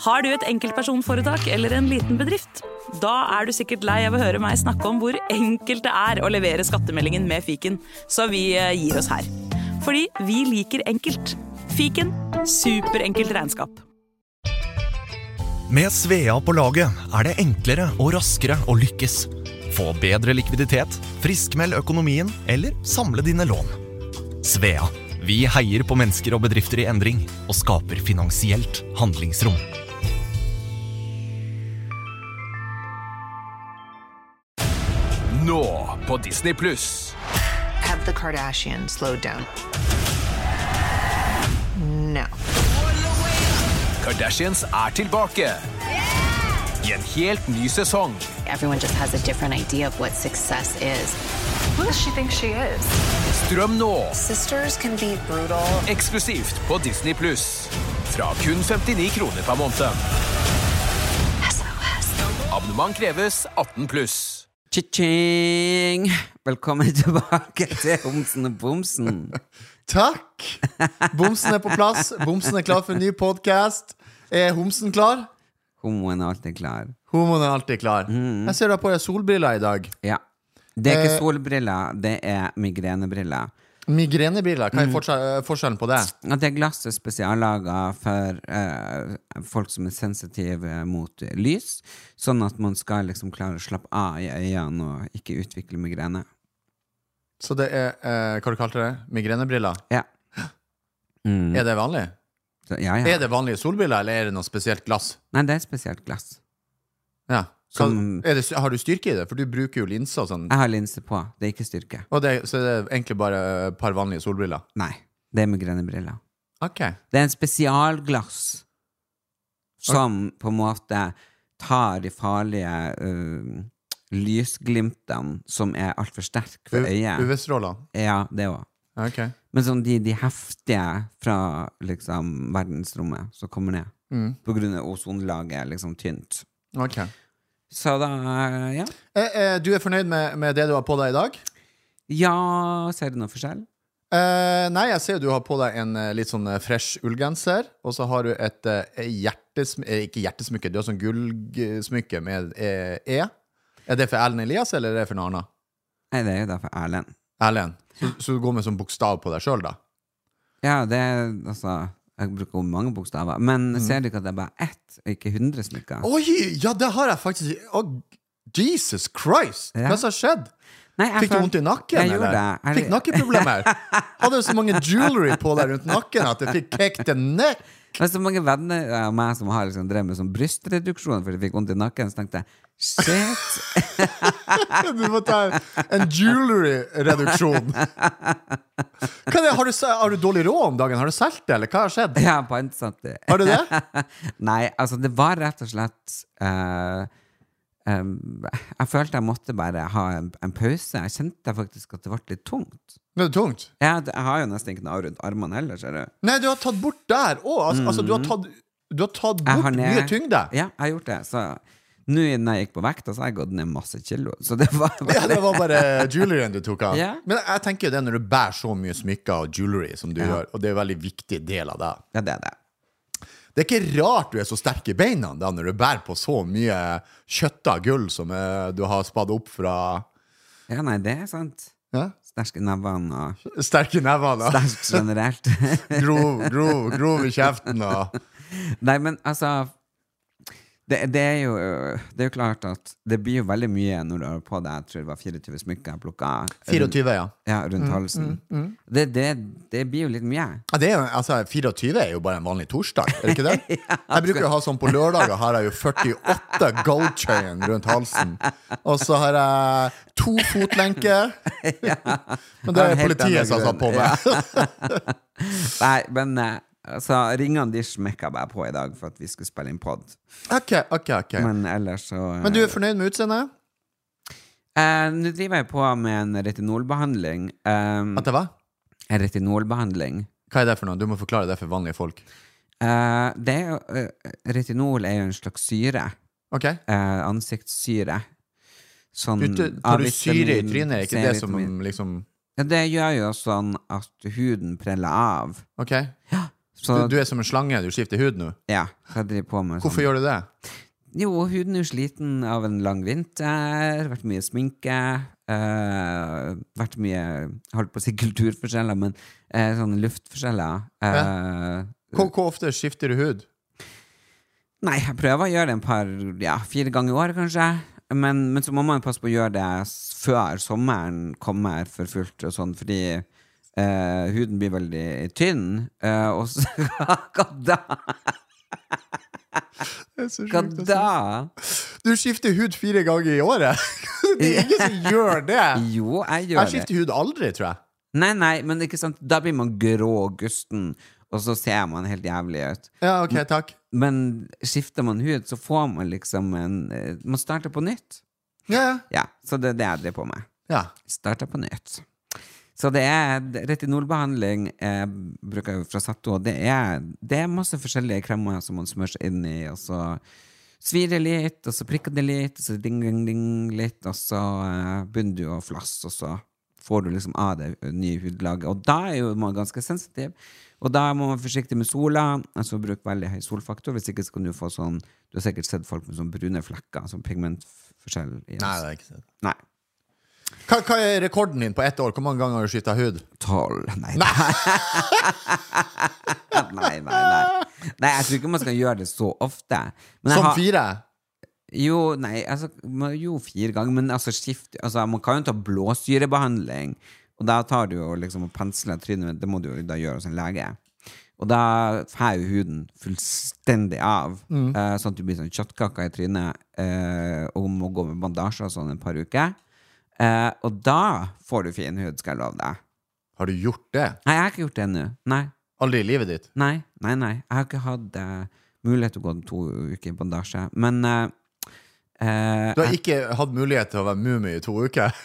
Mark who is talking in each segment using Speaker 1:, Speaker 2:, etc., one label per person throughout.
Speaker 1: Har du et enkeltpersonforetak eller en liten bedrift? Da er du sikkert lei av å høre meg snakke om hvor enkelt det er å levere skattemeldingen med fiken, så vi eh, gir oss her. Fordi vi liker enkelt. Fiken superenkelt regnskap.
Speaker 2: Med Svea på laget er det enklere og raskere å lykkes. Få bedre likviditet, friskmeld økonomien eller samle dine lån. Svea vi heier på mennesker og bedrifter i endring og skaper finansielt handlingsrom.
Speaker 3: Nå på Disney Pluss.
Speaker 4: Have the Kardashians slowed down? No.
Speaker 3: Kardashians er tilbake. I en helt ny sesong.
Speaker 5: Everyone just has a different idea of what success is.
Speaker 4: Who does she think she is?
Speaker 3: Strøm nå,
Speaker 4: Sisters can be brutal.
Speaker 3: eksklusivt på Disney Pluss. Fra kun 59 kroner per måned. Abonnement kreves 18 pluss.
Speaker 6: Cha-ching! Velkommen tilbake til Homsen og Bomsen.
Speaker 7: Takk! Bomsen er på plass. Bomsen er klar for en ny podkast. Er homsen klar?
Speaker 6: Homoen er alltid klar.
Speaker 7: Homoen er alltid klar.
Speaker 6: Mm.
Speaker 7: Jeg ser du har på deg solbriller i dag.
Speaker 6: Ja. Det er ikke
Speaker 7: Eh.
Speaker 6: solbriller, det er migrenebriller.
Speaker 7: Migrenebriller,
Speaker 6: Mm.
Speaker 7: hva er forskjell- forskjellen på det?
Speaker 6: Og det er glasset spesiallaga for eh, folk som er sensitive mot lys, sånn at man skal liksom klare å slappe av i øynene og ikke utvikle migrene.
Speaker 7: Så det er eh, Hva du kalte du det? Migrenebriller?
Speaker 6: Ja. Mm.
Speaker 7: Er det vanlig?
Speaker 6: Så, ja, ja.
Speaker 7: Er det vanlige solbriller, eller er det noe spesielt glass?
Speaker 6: Nei, det er et spesielt glass.
Speaker 7: Ja. Hva,
Speaker 6: Som-
Speaker 7: er det, har du styrke i det? For du bruker jo linser og sånn.
Speaker 6: Jeg har linse på, det er ikke styrke.
Speaker 7: Og det, så det er egentlig bare et par vanlige solbriller?
Speaker 6: Nei, det er migrenebriller.
Speaker 7: Ok.
Speaker 6: Det er en spesialglass som på en måte tar de farlige eh, lysglimtene som er altfor sterke for øyet.
Speaker 7: UV-stråler.
Speaker 6: Ja, det òg.
Speaker 7: Ok.
Speaker 6: Men sånn de, de heftige fra liksom verdensrommet som kommer ned. På grunn av ozonlaget er liksom tynt.
Speaker 7: Ok.
Speaker 6: Så da, ja.
Speaker 7: Eh, eh, du er fornøyd med, med det du har på deg i dag?
Speaker 6: Ja, ser du noe forskjell?
Speaker 7: Eh, nei, jeg ser jo du har på deg en eh, litt sånn eh, fresh ullgenser, og så har du et eh, hjertesmykke eh, Ikke hjertesmykke, du har sånn gullsmykke med eh, E. Er det for Erlend Elias, eller er det for noe annet?
Speaker 6: Nei, det er jo da for Erlend.
Speaker 7: Erlend. Så, så du går med sånn bokstav på deg sjøl, da?
Speaker 6: Ja, det er altså Jeg bruker jo mange bokstaver. Men ser du ikke at det er bare ett, og ikke hundre smykker?
Speaker 7: Oi! Ja, det har jeg faktisk Å, Jesus Christ!
Speaker 6: Ja.
Speaker 7: Hva som har skjedd?
Speaker 6: Nei, jeg
Speaker 7: Fikk du
Speaker 6: føl-
Speaker 7: vondt i nakken?
Speaker 6: Jeg gjorde
Speaker 7: eller?
Speaker 6: det.
Speaker 7: Fikk nakkeproblemer? Hadde du så mange jewelry på deg rundt nakken at det fikk cake the neck?
Speaker 6: Det er så mange venner av meg som har liksom drevet med sånn brystreduksjon fordi de fikk vondt i nakken. Så tenkte jeg shit.
Speaker 7: Du må ta en- en jewelry-reduksjon. Hva er det? Har, du se- har du dårlig råd om dagen? Har du solgt det, eller hva har skjedd?
Speaker 6: Jeg har pantsatt det.
Speaker 7: Har du det?
Speaker 6: Nei, altså, det var rett og slett eh, eh, Jeg følte jeg måtte bare ha en, en pause. Jeg kjente faktisk at det ble litt tungt.
Speaker 7: Det er tungt.
Speaker 6: Jeg, jeg har jo nesten ikke noe rundt armene heller, ser du.
Speaker 7: Nei, du har tatt bort der òg. Altså, altså, du har tatt, du har tatt
Speaker 6: Jeg
Speaker 7: bort
Speaker 6: har ned-
Speaker 7: mye tyngde.
Speaker 6: Ja, jeg har gjort det. Så nå når jeg gikk på vekta, så har jeg gått ned masse kilo. Så det var
Speaker 7: Ja, det var bare jewelryen du tok av.
Speaker 6: Ja.
Speaker 7: Men jeg tenker jo det når du bærer så mye smykker og jewelry som du gjør, og det er en veldig viktig del av deg.
Speaker 6: Ja, det er det.
Speaker 7: Det er ikke rart du er så sterk i beina da, når du bærer på så mye kjøtta gull som eh, du har spadd opp fra
Speaker 6: Ja, nei, det er sant.
Speaker 7: ja?
Speaker 6: Sterke nevene og
Speaker 7: sterke nevene.
Speaker 6: sterk generelt.
Speaker 7: grov, grov, grov i kjeften og
Speaker 6: nei, men altså det, det, er jo, det er jo klart at det blir jo veldig mye når du har på deg jeg tror det var 24 smykker jeg plukka rundt,
Speaker 7: 24, ja.
Speaker 6: ja,
Speaker 7: Mm,
Speaker 6: rundt halsen. Det, det, det blir jo litt mye.
Speaker 7: ja det er, jo- altså, 24 er jo bare en vanlig torsdag, er det ikke det? Jeg bruker å ha sånn på lørdager, har jeg jo 48 gold chain rundt halsen. Og så har jeg to fotlenker. Men det er
Speaker 6: Av en helt annen
Speaker 7: politiet som har satt på
Speaker 6: grunn,
Speaker 7: meg.
Speaker 6: Nei, men eh, altså, ringene de smekka bare på i dag for at vi skulle spille inn pod.
Speaker 7: Ok, ok, ok.
Speaker 6: Men ellers så eh, mm.
Speaker 7: Men du er fornøyd med utseendet?
Speaker 6: Eh, Nå driver jeg på med en retinolbehandling. Um,
Speaker 7: Vent, hva?
Speaker 6: en retinolbehandling.
Speaker 7: Hva er det for noe? Du må forklare det for vanlige folk.
Speaker 6: Eh, det er, jo- eh, retinol er jo en slags syre.
Speaker 7: Ok?
Speaker 6: eh, ansiktssyre. Sånn,
Speaker 7: Du, du,
Speaker 6: av
Speaker 7: når du syrer i
Speaker 6: vitamin,
Speaker 7: trynet, er ikke det som
Speaker 6: C-vitamin.
Speaker 7: liksom
Speaker 6: ja, Det gjør jo sånn at huden preller av.
Speaker 7: Ok?
Speaker 6: Så,
Speaker 7: Du, du er som en slange, du skifter hud nå.
Speaker 6: ja, så jeg driver på med
Speaker 7: Hvorfor
Speaker 6: sånn.
Speaker 7: gjør du det?
Speaker 6: Jo, huden er jo sliten av en lang vinter, vært mye sminke, eh, vært mye, holdt på å si kulturforskjeller, men eh, sånne luftforskjeller. eh,
Speaker 7: Hvor, hvor ofte skifter du hud?
Speaker 6: Nei, jeg prøver å gjøre det en par, ja, fire ganger i år kanskje. Men, men så må man jo passe på å gjøre det s- før sommeren kommer for fullt og sånn, fordi eh, huden blir veldig tynn. eh, og så Hva da? Hva da?
Speaker 7: Du skifter hud fire ganger i året! det er ingen som gjør det!
Speaker 6: Jo, jeg
Speaker 7: Jeg
Speaker 6: gjør det.
Speaker 7: skifter hud aldri, tror jeg.
Speaker 6: Nei, nei, men ikke sant, da blir man grå og gusten, og så ser man helt jævlig ut.
Speaker 7: Ja, OK, takk.
Speaker 6: Men skifter man hud, så får man liksom en eh, Man starter på nytt.
Speaker 7: Ja, ja.
Speaker 6: Ja, så det er det jeg driver på med.
Speaker 7: ja.
Speaker 6: starta på nytt. Så det er retinolbehandling eh, bruker jeg jo fra Sato, og det er, det er masse forskjellige kremer som man smører seg inn i, og så svir det litt, og så prikker det litt, og så ding, ding, ding litt, og så eh, begynner du å flasse, og så får du liksom av det nye hudlaget. Og da er jo man ganske sensitiv, og da må man være forsiktig med sola, altså bruke veldig høy solfaktor, hvis ikke så kan du få sånn, du har sikkert sett folk med sånn brune flekker, sånn pigmentforskjell. i
Speaker 7: Nei,
Speaker 6: oss.
Speaker 7: det er ikke sant.
Speaker 6: Nei.
Speaker 7: Hva, hva er rekorden din på ett år? Hvor mange ganger har du skifta hud?
Speaker 6: tolv Nei. nei, nei, nei. Nei, jeg tror ikke man skal gjøre det så ofte. Men jeg
Speaker 7: Som
Speaker 6: har-
Speaker 7: fire?
Speaker 6: Jo, nei, altså, man- jo fire ganger, men altså skift altså, Man kan jo ta blåsyrebehandling, og da tar du jo liksom og pensler trynet Det må du jo da gjøre hos en lege. Og da får jo huden fullstendig av,
Speaker 7: Mm.
Speaker 6: eh, sånn at du blir sånn kjøttkaker i trynet eh, og må gå med bandasje og sånn et par uker. Eh, og da får du fin hud, skal jeg love deg.
Speaker 7: Har du gjort det?
Speaker 6: Nei, jeg har ikke gjort det ennå. Nei,
Speaker 7: Aldri i livet ditt?
Speaker 6: nei, nei, nei. Jeg har ikke hatt eh, mulighet til å gå to uker i bandasje. Men eh, eh,
Speaker 7: Du har ikke hatt mulighet til å være mumie i to uker?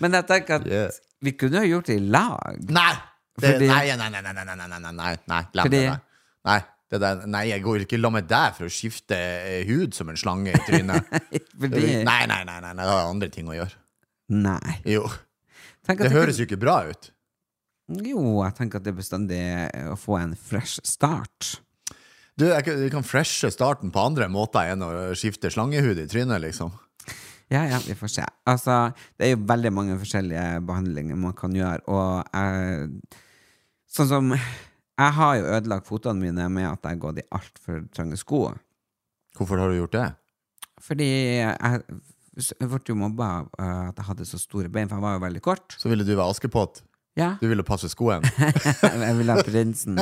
Speaker 6: Men jeg tenker at
Speaker 7: Yeah.
Speaker 6: vi kunne jo gjort det i lag.
Speaker 7: Nei! Det,
Speaker 6: Fordi-
Speaker 7: nei, nei, nei, nei, nei, nei, nei, nei, nei, nei, nei, glem
Speaker 6: Fordi-
Speaker 7: det der. Nei, det der. Nei, jeg går ikke i lag med deg for å skifte eh, hud som en slange i trynet.
Speaker 6: Fordi
Speaker 7: nei, nei, nei, nei, nei, det har andre ting å gjøre.
Speaker 6: Nei.
Speaker 7: Jo.
Speaker 6: Tenk at
Speaker 7: Det
Speaker 6: det
Speaker 7: høres jo ikke bra ut.
Speaker 6: kunne- Jo, jeg tenker at det er bestandig eh, å få en fresh start.
Speaker 7: Du, jeg, kan- du kan freshe starten på andre måter enn å skifte slangehud i trynet, liksom.
Speaker 6: Ja, ja, vi får se. Altså, det er jo veldig mange forskjellige behandlinger man kan gjøre, og jeg Sånn som Jeg har jo ødelagt fotene mine med at jeg har gått i altfor trange sko.
Speaker 7: Hvorfor har du gjort det?
Speaker 6: Fordi jeg s- jeg ble jo mobba av eh, at jeg hadde så store bein, for jeg var jo veldig kort.
Speaker 7: Så ville du være Askepott.
Speaker 6: Ja.
Speaker 7: Du ville passe skoen.
Speaker 6: Jeg vil ha prinsen.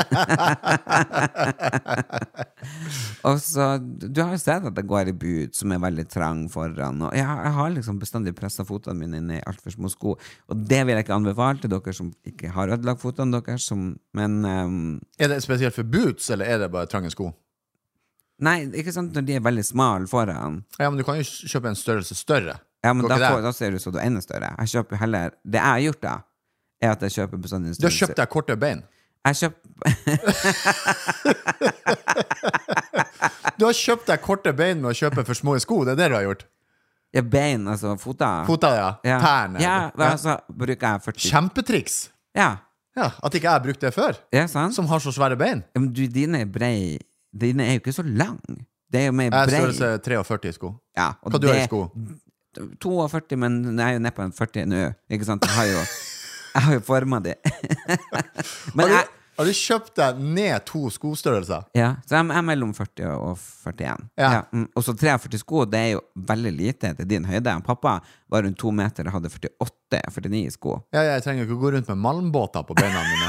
Speaker 6: og så, Du har jo sett at jeg går i bud som er veldig trang foran. Og jeg, jeg har liksom bestandig pressa fotene mine inn i altfor små sko. Og det vil jeg ikke anbefale til dere som ikke har ødelagt fotene deres. Som, men ehm,
Speaker 7: Er det spesielt for boots, eller er det bare trange sko?
Speaker 6: Nei, ikke sant når de er veldig smale foran.
Speaker 7: Ja, men du kan jo kjøpe en størrelse større.
Speaker 6: Ja, men
Speaker 7: Går
Speaker 6: da,
Speaker 7: ikke
Speaker 6: får,
Speaker 7: det?
Speaker 6: da ser du så du er enda større. Jeg kjøper heller Det jeg har gjort, da, er at jeg kjøper bestandig en
Speaker 7: Du har
Speaker 6: størrelse-
Speaker 7: kjøpt deg korte bein.
Speaker 6: Jeg kjøper
Speaker 7: Du har kjøpt deg korte bein med å kjøpe for små sko. Det er det du har gjort.
Speaker 6: ja, bein, altså føtter.
Speaker 7: Fota, ja.
Speaker 6: Ja.
Speaker 7: Tærne.
Speaker 6: Ja,
Speaker 7: Ja.
Speaker 6: altså bruker jeg 40
Speaker 7: Kjempetriks!
Speaker 6: Ja,
Speaker 7: Ja, At ikke jeg har brukt det før.
Speaker 6: ja sant?
Speaker 7: Som har så svære bein.
Speaker 6: Ja, Men du, dine er brei Dine er jo ikke så lang Det er jo mer
Speaker 7: Jeg har
Speaker 6: brei
Speaker 7: størrelse 43 i sko.
Speaker 6: ja, og
Speaker 7: Hva du har i
Speaker 6: det-
Speaker 7: sko?
Speaker 6: 42, men jeg er jo nede på en 40 nå Ikke sant? Jeg har jo, jeg har jo formet det Men
Speaker 7: Har
Speaker 6: jeg,
Speaker 7: du, har du kjøpt deg ned to skostørrelser?
Speaker 6: ja, så jeg er mellom 40 og 41
Speaker 7: Ja.
Speaker 6: mm, Og så 43 sko, det er jo veldig lite til din høyde Pappa var rundt 2 meter og hadde 48-49 sko
Speaker 7: Ja, jeg trenger ikke å gå rundt med malmbåter på beina mine.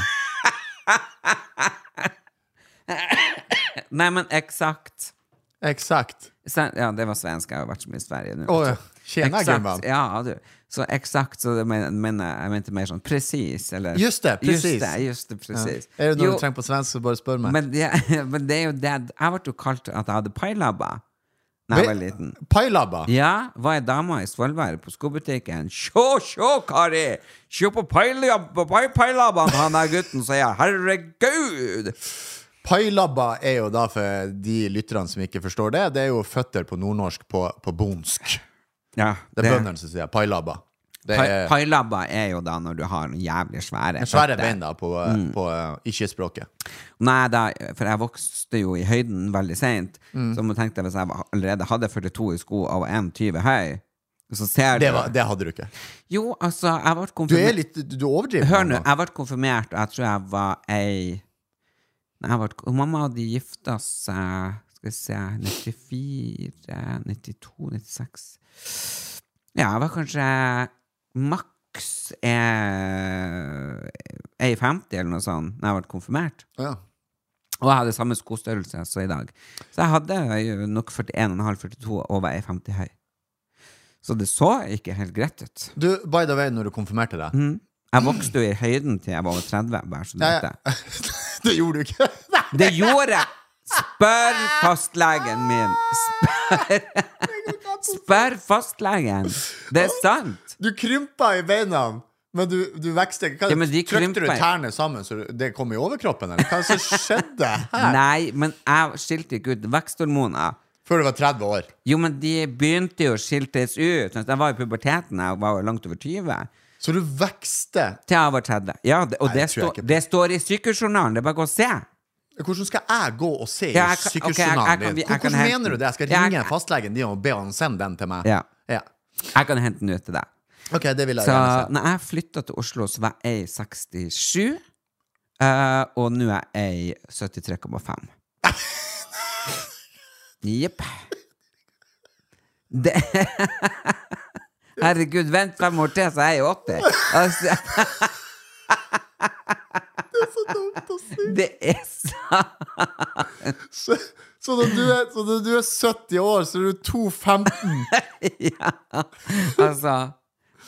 Speaker 6: Nei, men eksakt
Speaker 7: Eksakt.
Speaker 6: Så- Ja, det var svensk, jeg har vært så mye i Sverige nå
Speaker 7: Å, ja. Tjena,
Speaker 6: Exakt,
Speaker 7: gumman.
Speaker 6: Ja, du. Så exakt, så det men, men, jeg mente mer sånn presis, eller
Speaker 7: Just det, precis.
Speaker 6: Just det, just det, presis.
Speaker 7: Er det noe
Speaker 6: Jo,
Speaker 7: du trenger på svensk, så bare spør meg.
Speaker 6: men, det- men det er jo det Jeg ble jo kalt at jeg hadde pailabba da jeg var
Speaker 7: Ve-
Speaker 6: liten.
Speaker 7: Pailabba!
Speaker 6: Ja, var ei dame i Svolvær på skobutikken. Sjå, sjå, Kari! Sjå på pailab- på pai- pailabbaen til han der gutten, sier jeg. Herregud!
Speaker 7: Pailabba er jo da, for de lytterne som ikke forstår det, det er jo føtter på nordnorsk på, på bonsk.
Speaker 6: Ja,
Speaker 7: Det er bøndene som sier pailabba. Det
Speaker 6: Pai-
Speaker 7: er
Speaker 6: Pailabba er jo da når du har noen jævlig svære
Speaker 7: svære
Speaker 6: føtter. Mm.
Speaker 7: bein da på, på eh, ikke-språket.
Speaker 6: Nei, da, for jeg vokste jo i høyden veldig seint,
Speaker 7: Mm.
Speaker 6: så man tenkte hvis jeg var- allerede hadde 42 i sko og var 1,20 høy, så ser
Speaker 7: Det,
Speaker 6: du
Speaker 7: var- det hadde du ikke.
Speaker 6: Jo, altså, jeg ble
Speaker 7: Du er
Speaker 6: konfirmert
Speaker 7: litt Du overdriver.
Speaker 6: Hør nå,
Speaker 7: mamma.
Speaker 6: jeg ble konfirmert, og jeg tror jeg var ei Nei, jeg ble, Mamma og de gifta seg Skal vi se 94, 92, 96 Ja, jeg var kanskje maks eh, 1,50 eller noe sånt da jeg ble konfirmert.
Speaker 7: Ja.
Speaker 6: Og jeg hadde samme skostørrelse som i dag. Så jeg hadde jo nok 41,5-42 og var 1,50 høy. Så det så ikke helt greit ut.
Speaker 7: Du, by the way, når du konfirmerte
Speaker 6: Mm.
Speaker 7: deg
Speaker 6: Jeg vokste jo i høyden til jeg var over 30, bare så du
Speaker 7: Nei,
Speaker 6: vet det.
Speaker 7: Det gjorde du ikke.
Speaker 6: Det gjorde jeg! Spør fastlegen min. Spør, Spør fastlegen. Det er sant.
Speaker 7: Du krympa i beina, men du, du vekste ikke. Hva-
Speaker 6: Ja, men de
Speaker 7: Trykte du
Speaker 6: krympa i-
Speaker 7: tærne sammen så du- det kom i overkroppen, eller? Hva er det som skjedde her?
Speaker 6: Nei, men jeg skilte ikke ut veksthormoner.
Speaker 7: Før du var 30 år.
Speaker 6: Jo, men de begynte jo å skiltes ut. Sånn at Jeg var i puberteten, jeg var jo langt over 20.
Speaker 7: Så du vekste
Speaker 6: Til jeg var 30. Ja, det, og
Speaker 7: Nei, det
Speaker 6: det,
Speaker 7: tror jeg
Speaker 6: står-
Speaker 7: ikke på.
Speaker 6: det står i sykehusjournalen. Det er bare å gå og se.
Speaker 7: Hvordan skal jeg gå og se
Speaker 6: Ja,
Speaker 7: i
Speaker 6: jeg kan- ok, jeg- jeg kan-
Speaker 7: sykehusjournalen din?
Speaker 6: jeg kan
Speaker 7: Hvordan
Speaker 6: hente
Speaker 7: mener du
Speaker 6: den.
Speaker 7: det? Jeg skal
Speaker 6: Ja, jeg
Speaker 7: ringe
Speaker 6: kan-
Speaker 7: fastlegen din og be han sende den til meg?
Speaker 6: Ja.
Speaker 7: Ja.
Speaker 6: Jeg kan hente den ut til deg.
Speaker 7: Ok, det vil jeg
Speaker 6: Så
Speaker 7: gjerne se.
Speaker 6: når jeg flytta til Oslo, så var jeg 67, eh, og nå er jeg 73,5. Jepp. Det Herregud, vent fem år til, så er jeg 80. Altså, det er så
Speaker 7: Så, så når du er, så når du er 70 år, så er du 2,15.
Speaker 6: Altså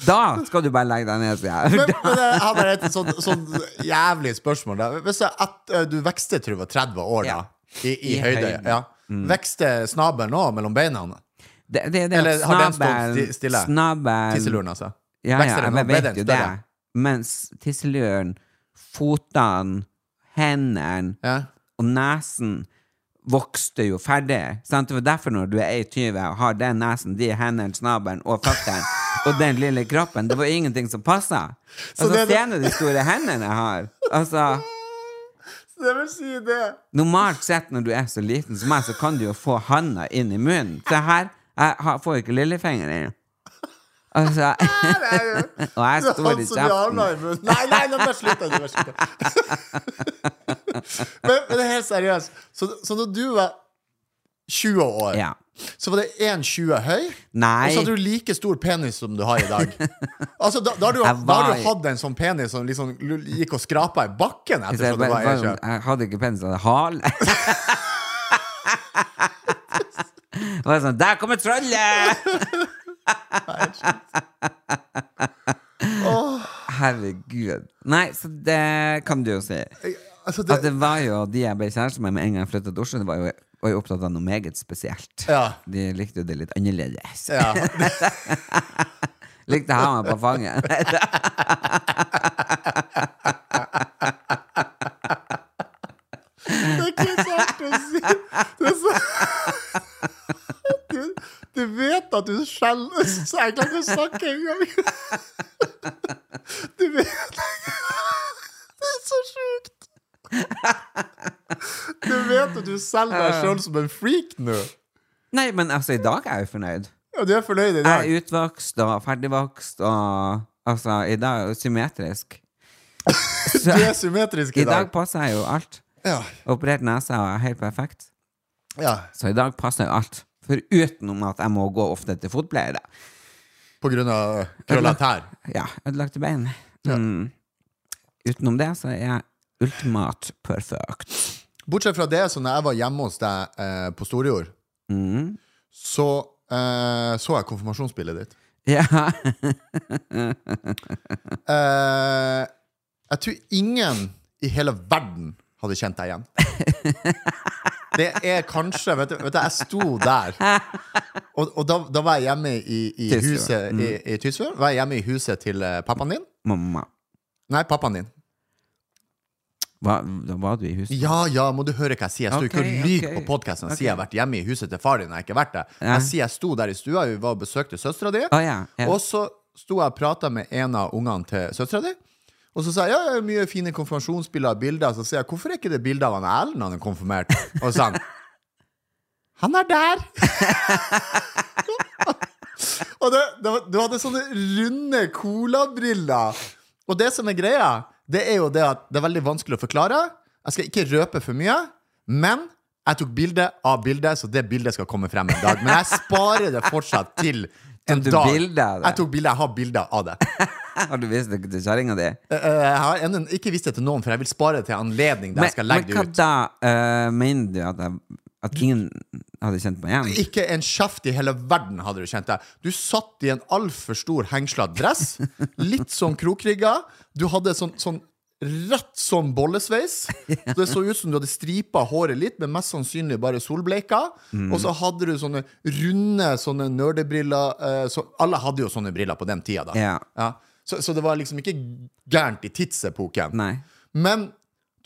Speaker 6: Da skal du bare legge deg ned, sier
Speaker 7: Men,
Speaker 6: jeg.
Speaker 7: men eh, jeg har bare et sånt, sånt jævlig spørsmål. Da. Hvis jeg, at eh, du vekste til du var 30 år, da,
Speaker 6: Ja.
Speaker 7: i, i,
Speaker 6: I
Speaker 7: høyde,
Speaker 6: høyden. Mm.
Speaker 7: ja. vekste snabelen òg mellom beina?
Speaker 6: Det, det, det,
Speaker 7: Eller har den stått sti- stille?
Speaker 6: snabel-
Speaker 7: Tisseluren, altså.
Speaker 6: Ja, ja,
Speaker 7: Vekster den
Speaker 6: jeg
Speaker 7: opp? Ble
Speaker 6: vet
Speaker 7: den
Speaker 6: jo det.
Speaker 7: større?
Speaker 6: Mens tisseluren, fotene, hendene
Speaker 7: Ja.
Speaker 6: og nesen vokste jo ferdig. Sant? Det var derfor når du er 21 og har den nesen, de hendene, snabelen og føttene og den lille kroppen, det var ingenting som passa.
Speaker 7: Så
Speaker 6: Altså,
Speaker 7: det er det-
Speaker 6: Se nå de store hendene jeg har. Altså,
Speaker 7: Så det vil si det.
Speaker 6: normalt sett når du er så liten som meg, så kan du jo få handa inn i munnen. Se her, jeg har, får ikke lillefingeren. Altså,
Speaker 7: Det er
Speaker 6: og jeg står
Speaker 7: han
Speaker 6: i
Speaker 7: som blir
Speaker 6: kjeften.
Speaker 7: arna i munnen. Nei, nei, nei, bare slutt. da, bare slutt, da. men, men det er helt seriøst. Så, så når du var 20 år,
Speaker 6: Ja.
Speaker 7: så var det 1,20 høy? Og
Speaker 6: Nei.
Speaker 7: så hadde du like stor penis som du har i dag. Altså, da, da, har du, da
Speaker 6: Jeg
Speaker 7: har
Speaker 6: var-
Speaker 7: du hatt en sånn penis som liksom lu- gikk og skrapa i bakken
Speaker 6: Jeg,
Speaker 7: etter at du var
Speaker 6: bare-
Speaker 7: 1,20.
Speaker 6: jeg hadde ikke penis, jeg hadde hale. Det var sånn Der kommer trollet! Herregud. Nei, så det kan du jo si.
Speaker 7: Altså, det,
Speaker 6: At det var jo de jeg ble kjæreste med med en gang jeg flytta til Oslo, det var jo, var jo opptatt av noe meget spesielt.
Speaker 7: Ja.
Speaker 6: De likte jo det litt annerledes.
Speaker 7: ja.
Speaker 6: Likte å ha meg på fanget.
Speaker 7: Det er ikke så artig å si. Det er så... Du, du vet at du skjelver så jeg klarer ikke å snakke engang. Du vet Det er så sjukt. Du vet at du selger deg sjøl som en freak nå.
Speaker 6: Nei, men altså, i dag er jeg jo fornøyd.
Speaker 7: Ja, du er fornøyd i dag.
Speaker 6: Jeg er utvokst og ferdigvokst og Altså, i dag er jeg jo symmetrisk. Så,
Speaker 7: Du er symmetrisk
Speaker 6: I
Speaker 7: i
Speaker 6: dag
Speaker 7: dag.
Speaker 6: passer jeg jo alt.
Speaker 7: Ja.
Speaker 6: Operert nese og er helt perfekt.
Speaker 7: ja.
Speaker 6: Så i dag passer jo alt. Foruten at jeg må gå ofte til fotpleier. da.
Speaker 7: På grunn av krøllete tær.
Speaker 6: Ja, ødelagte bein. Mm. Utenom det så er jeg ultimat perfect.
Speaker 7: Bortsett fra det, så når jeg var hjemme hos deg eh, på Storjord,
Speaker 6: Mm.
Speaker 7: så eh, så jeg konfirmasjonsbildet ditt.
Speaker 6: Ja.
Speaker 7: Eh, jeg tror ingen i hele verden hadde kjent deg igjen. Det er kanskje Vet du, vet du jeg sto der. Og, og da, da var jeg hjemme i, i
Speaker 6: Tysfjord. Mm.
Speaker 7: huset i, i Tysfjord. Var jeg hjemme i huset til eh, pappaen din?
Speaker 6: Mamma,
Speaker 7: Nei, pappaen din.
Speaker 6: hva, da var du i huset?
Speaker 7: Ja, ja, må du høre hva jeg sier? Jeg står ikke
Speaker 6: Ok,
Speaker 7: og lyver
Speaker 6: ok.
Speaker 7: på podkasten og
Speaker 6: Ok.
Speaker 7: sier jeg har vært hjemme i huset til far din. Jeg har ikke vært det.
Speaker 6: Ja.
Speaker 7: Jeg sier jeg sto der i stua, vi var og besøkte søstera di,
Speaker 6: Å ja, ja.
Speaker 7: og så sto jeg og prata med en av ungene til søstera di. Og så sa jeg ja, ja, mye fine konfirmasjonsbilder og bilder. Så sier jeg hvorfor er ikke det bilde av han Erlend han er konfirmert? Og så sa han han er der! og det, det, var- du hadde sånne runde colabriller. Og det som er greia, det er jo det at det er veldig vanskelig å forklare. Jeg skal ikke røpe for mye, men jeg tok bilde av bildet, så det bildet skal komme frem en dag. Men jeg sparer det fortsatt til en
Speaker 6: du
Speaker 7: dag.
Speaker 6: bilde av det?
Speaker 7: Jeg tok bilde, jeg har bilder av det.
Speaker 6: Har du vist det til kjerringa di?
Speaker 7: Eh, eh, Jeg har ennå ikke vist det til noen, for jeg vil spare det til anledning der jeg skal legge det
Speaker 6: hva
Speaker 7: ut.
Speaker 6: da? eh, mener du at, jeg, at ingen hadde kjent meg igjen?
Speaker 7: Ikke en kjeft i hele verden hadde du kjent deg. Du satt i en altfor stor hengsla dress, litt sånn krokrygga. Du hadde sånn, sånn rett sånn bollesveis. Så det så ut som du hadde stripa håret litt, men mest sannsynlig bare solbleika.
Speaker 6: Mm.
Speaker 7: Og så hadde du sånne runde sånne nerdebriller. eh, Så alle hadde jo sånne briller på den tida, da.
Speaker 6: Ja.
Speaker 7: Så, så det var liksom ikke gærent i tidsepoken.
Speaker 6: Nei.
Speaker 7: Men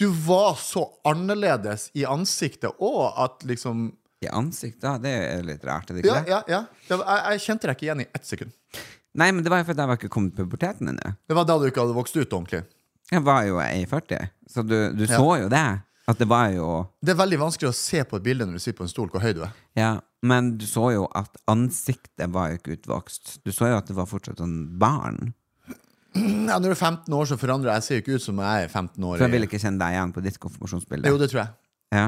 Speaker 7: du var så annerledes i ansiktet òg at liksom
Speaker 6: I ansikt, da? Det er jo litt rart, er det ikke
Speaker 7: ja,
Speaker 6: det?
Speaker 7: ja, ja. Det var, jeg, jeg kjente deg ikke igjen i ett sekund.
Speaker 6: Nei, men det var jo fordi jeg var ikke kommet til puberteten ennå.
Speaker 7: Det var da du ikke hadde vokst ut ordentlig.
Speaker 6: Jeg var jo ei 40, så du, du så jo det. At det var jo
Speaker 7: Det er veldig vanskelig å se på et bilde når du sitter på en stol, hvor høy du er.
Speaker 6: Ja, men du så jo at ansiktet var jo ikke utvokst. Du så jo at det var fortsatt sånn barn.
Speaker 7: Ja, når du er 15 år, så forandrer jeg. Jeg ser jo ikke ut som jeg er 15 år.
Speaker 6: For jeg ville ikke kjenne deg igjen på ditt konfirmasjonsbilde.
Speaker 7: Jo, det tror jeg.
Speaker 6: Ja.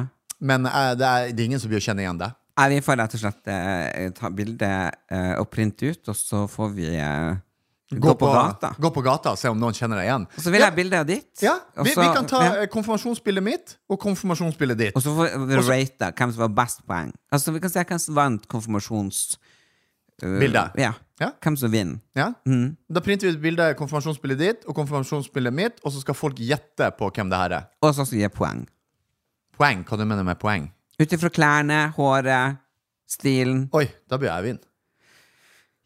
Speaker 7: Men eh, det, er, det er ingen som blir å kjenne igjen deg.
Speaker 6: Nei, vi får rett og slett eh, ta bilde eh, og printe ut, og så får vi eh, gå, på, gata.
Speaker 7: Gå på gata og se om noen kjenner deg igjen.
Speaker 6: Og så vil jeg ha bilde av ditt.
Speaker 7: Ja,
Speaker 6: og
Speaker 7: vi,
Speaker 6: så-
Speaker 7: vi kan ta
Speaker 6: ja.
Speaker 7: eh, konfirmasjonsbildet mitt og konfirmasjonsbildet ditt.
Speaker 6: Og så får vi rate hvem som var best poeng. Altså Vi kan se hvem som vant konfirmasjons... øh,
Speaker 7: Bildet.
Speaker 6: Ja.
Speaker 7: Ja.
Speaker 6: Hvem som vinner.
Speaker 7: Ja?
Speaker 6: Mm.
Speaker 7: Da printer vi ut bilde av konfirmasjonsbildet ditt og konfirmasjonsbildet mitt, og så skal folk gjette på hvem det her er.
Speaker 6: Og så skal vi gi poeng.
Speaker 7: Poeng. Hva du mener med poeng?
Speaker 6: Ut ifra klærne, håret, stilen
Speaker 7: Oi, da blir jeg vin.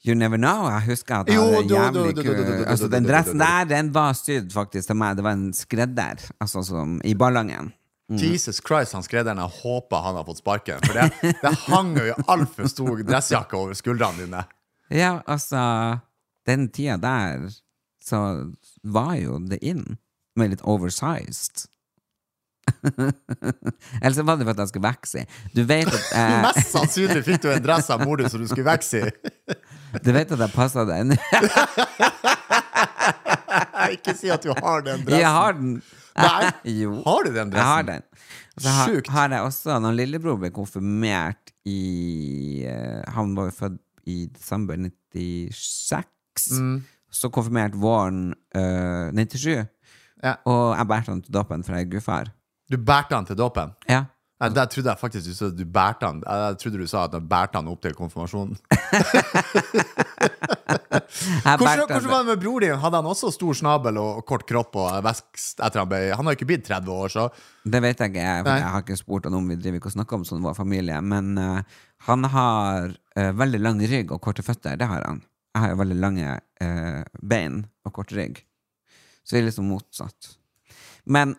Speaker 6: You never know. Jeg husker at
Speaker 7: Jo,
Speaker 6: han hadde
Speaker 7: du- du- du-
Speaker 6: jævlig
Speaker 7: du- du- du- du-
Speaker 6: kul Altså Den
Speaker 7: du- du-
Speaker 6: dressen
Speaker 7: du-
Speaker 6: der Den var sydd faktisk til meg. Det var en skredder Altså som i Ballangen.
Speaker 7: Jesus Christ, han skredderen. Jeg håper han har fått sparken. For det, det hang jo i altfor stor dressjakke over skuldrene dine.
Speaker 6: Ja, altså Den tida der så var jo det in med litt oversized. Eller så var det for at jeg skulle vokse. Du vet at eh,
Speaker 7: Mest sannsynlig fikk du en dress av mor di som du skulle vokse i.
Speaker 6: Du vet at jeg passer den?
Speaker 7: Ikke si at du har den dressen.
Speaker 6: Jeg har den!
Speaker 7: Nei,
Speaker 6: Jo.
Speaker 7: har du den dressen?
Speaker 6: Jeg har den. Og Så har,
Speaker 7: Sjukt.
Speaker 6: har jeg også Når lillebror ble konfirmert i eh, Han var jo født i desember 96.
Speaker 7: Mm.
Speaker 6: Så konfirmert våren eh, 97.
Speaker 7: Ja.
Speaker 6: Og jeg bærte han til dåpen fra gudfar.
Speaker 7: Du bærte han til dåpen.
Speaker 6: Ja.
Speaker 7: Nei, Der trodde jeg faktisk du sa at du bærte han Jeg trodde du sa at du bærte han opp til konfirmasjonen.
Speaker 6: Jeg
Speaker 7: Hvordan,
Speaker 6: bærte han-
Speaker 7: hvordan var det med bror din? Hadde han også stor snabel og kort kropp og vekst etter han ble Han har jo ikke blitt 30 år, så
Speaker 6: Det vet jeg ikke, jeg, for
Speaker 7: Nei.
Speaker 6: jeg har ikke spurt han om vi driver ikke og snakker om sånn vår familie. Men eh, han har eh, veldig lang rygg og korte føtter. Det har han. Jeg har jo veldig lange eh, bein og kort rygg. Så vi er liksom motsatt. Men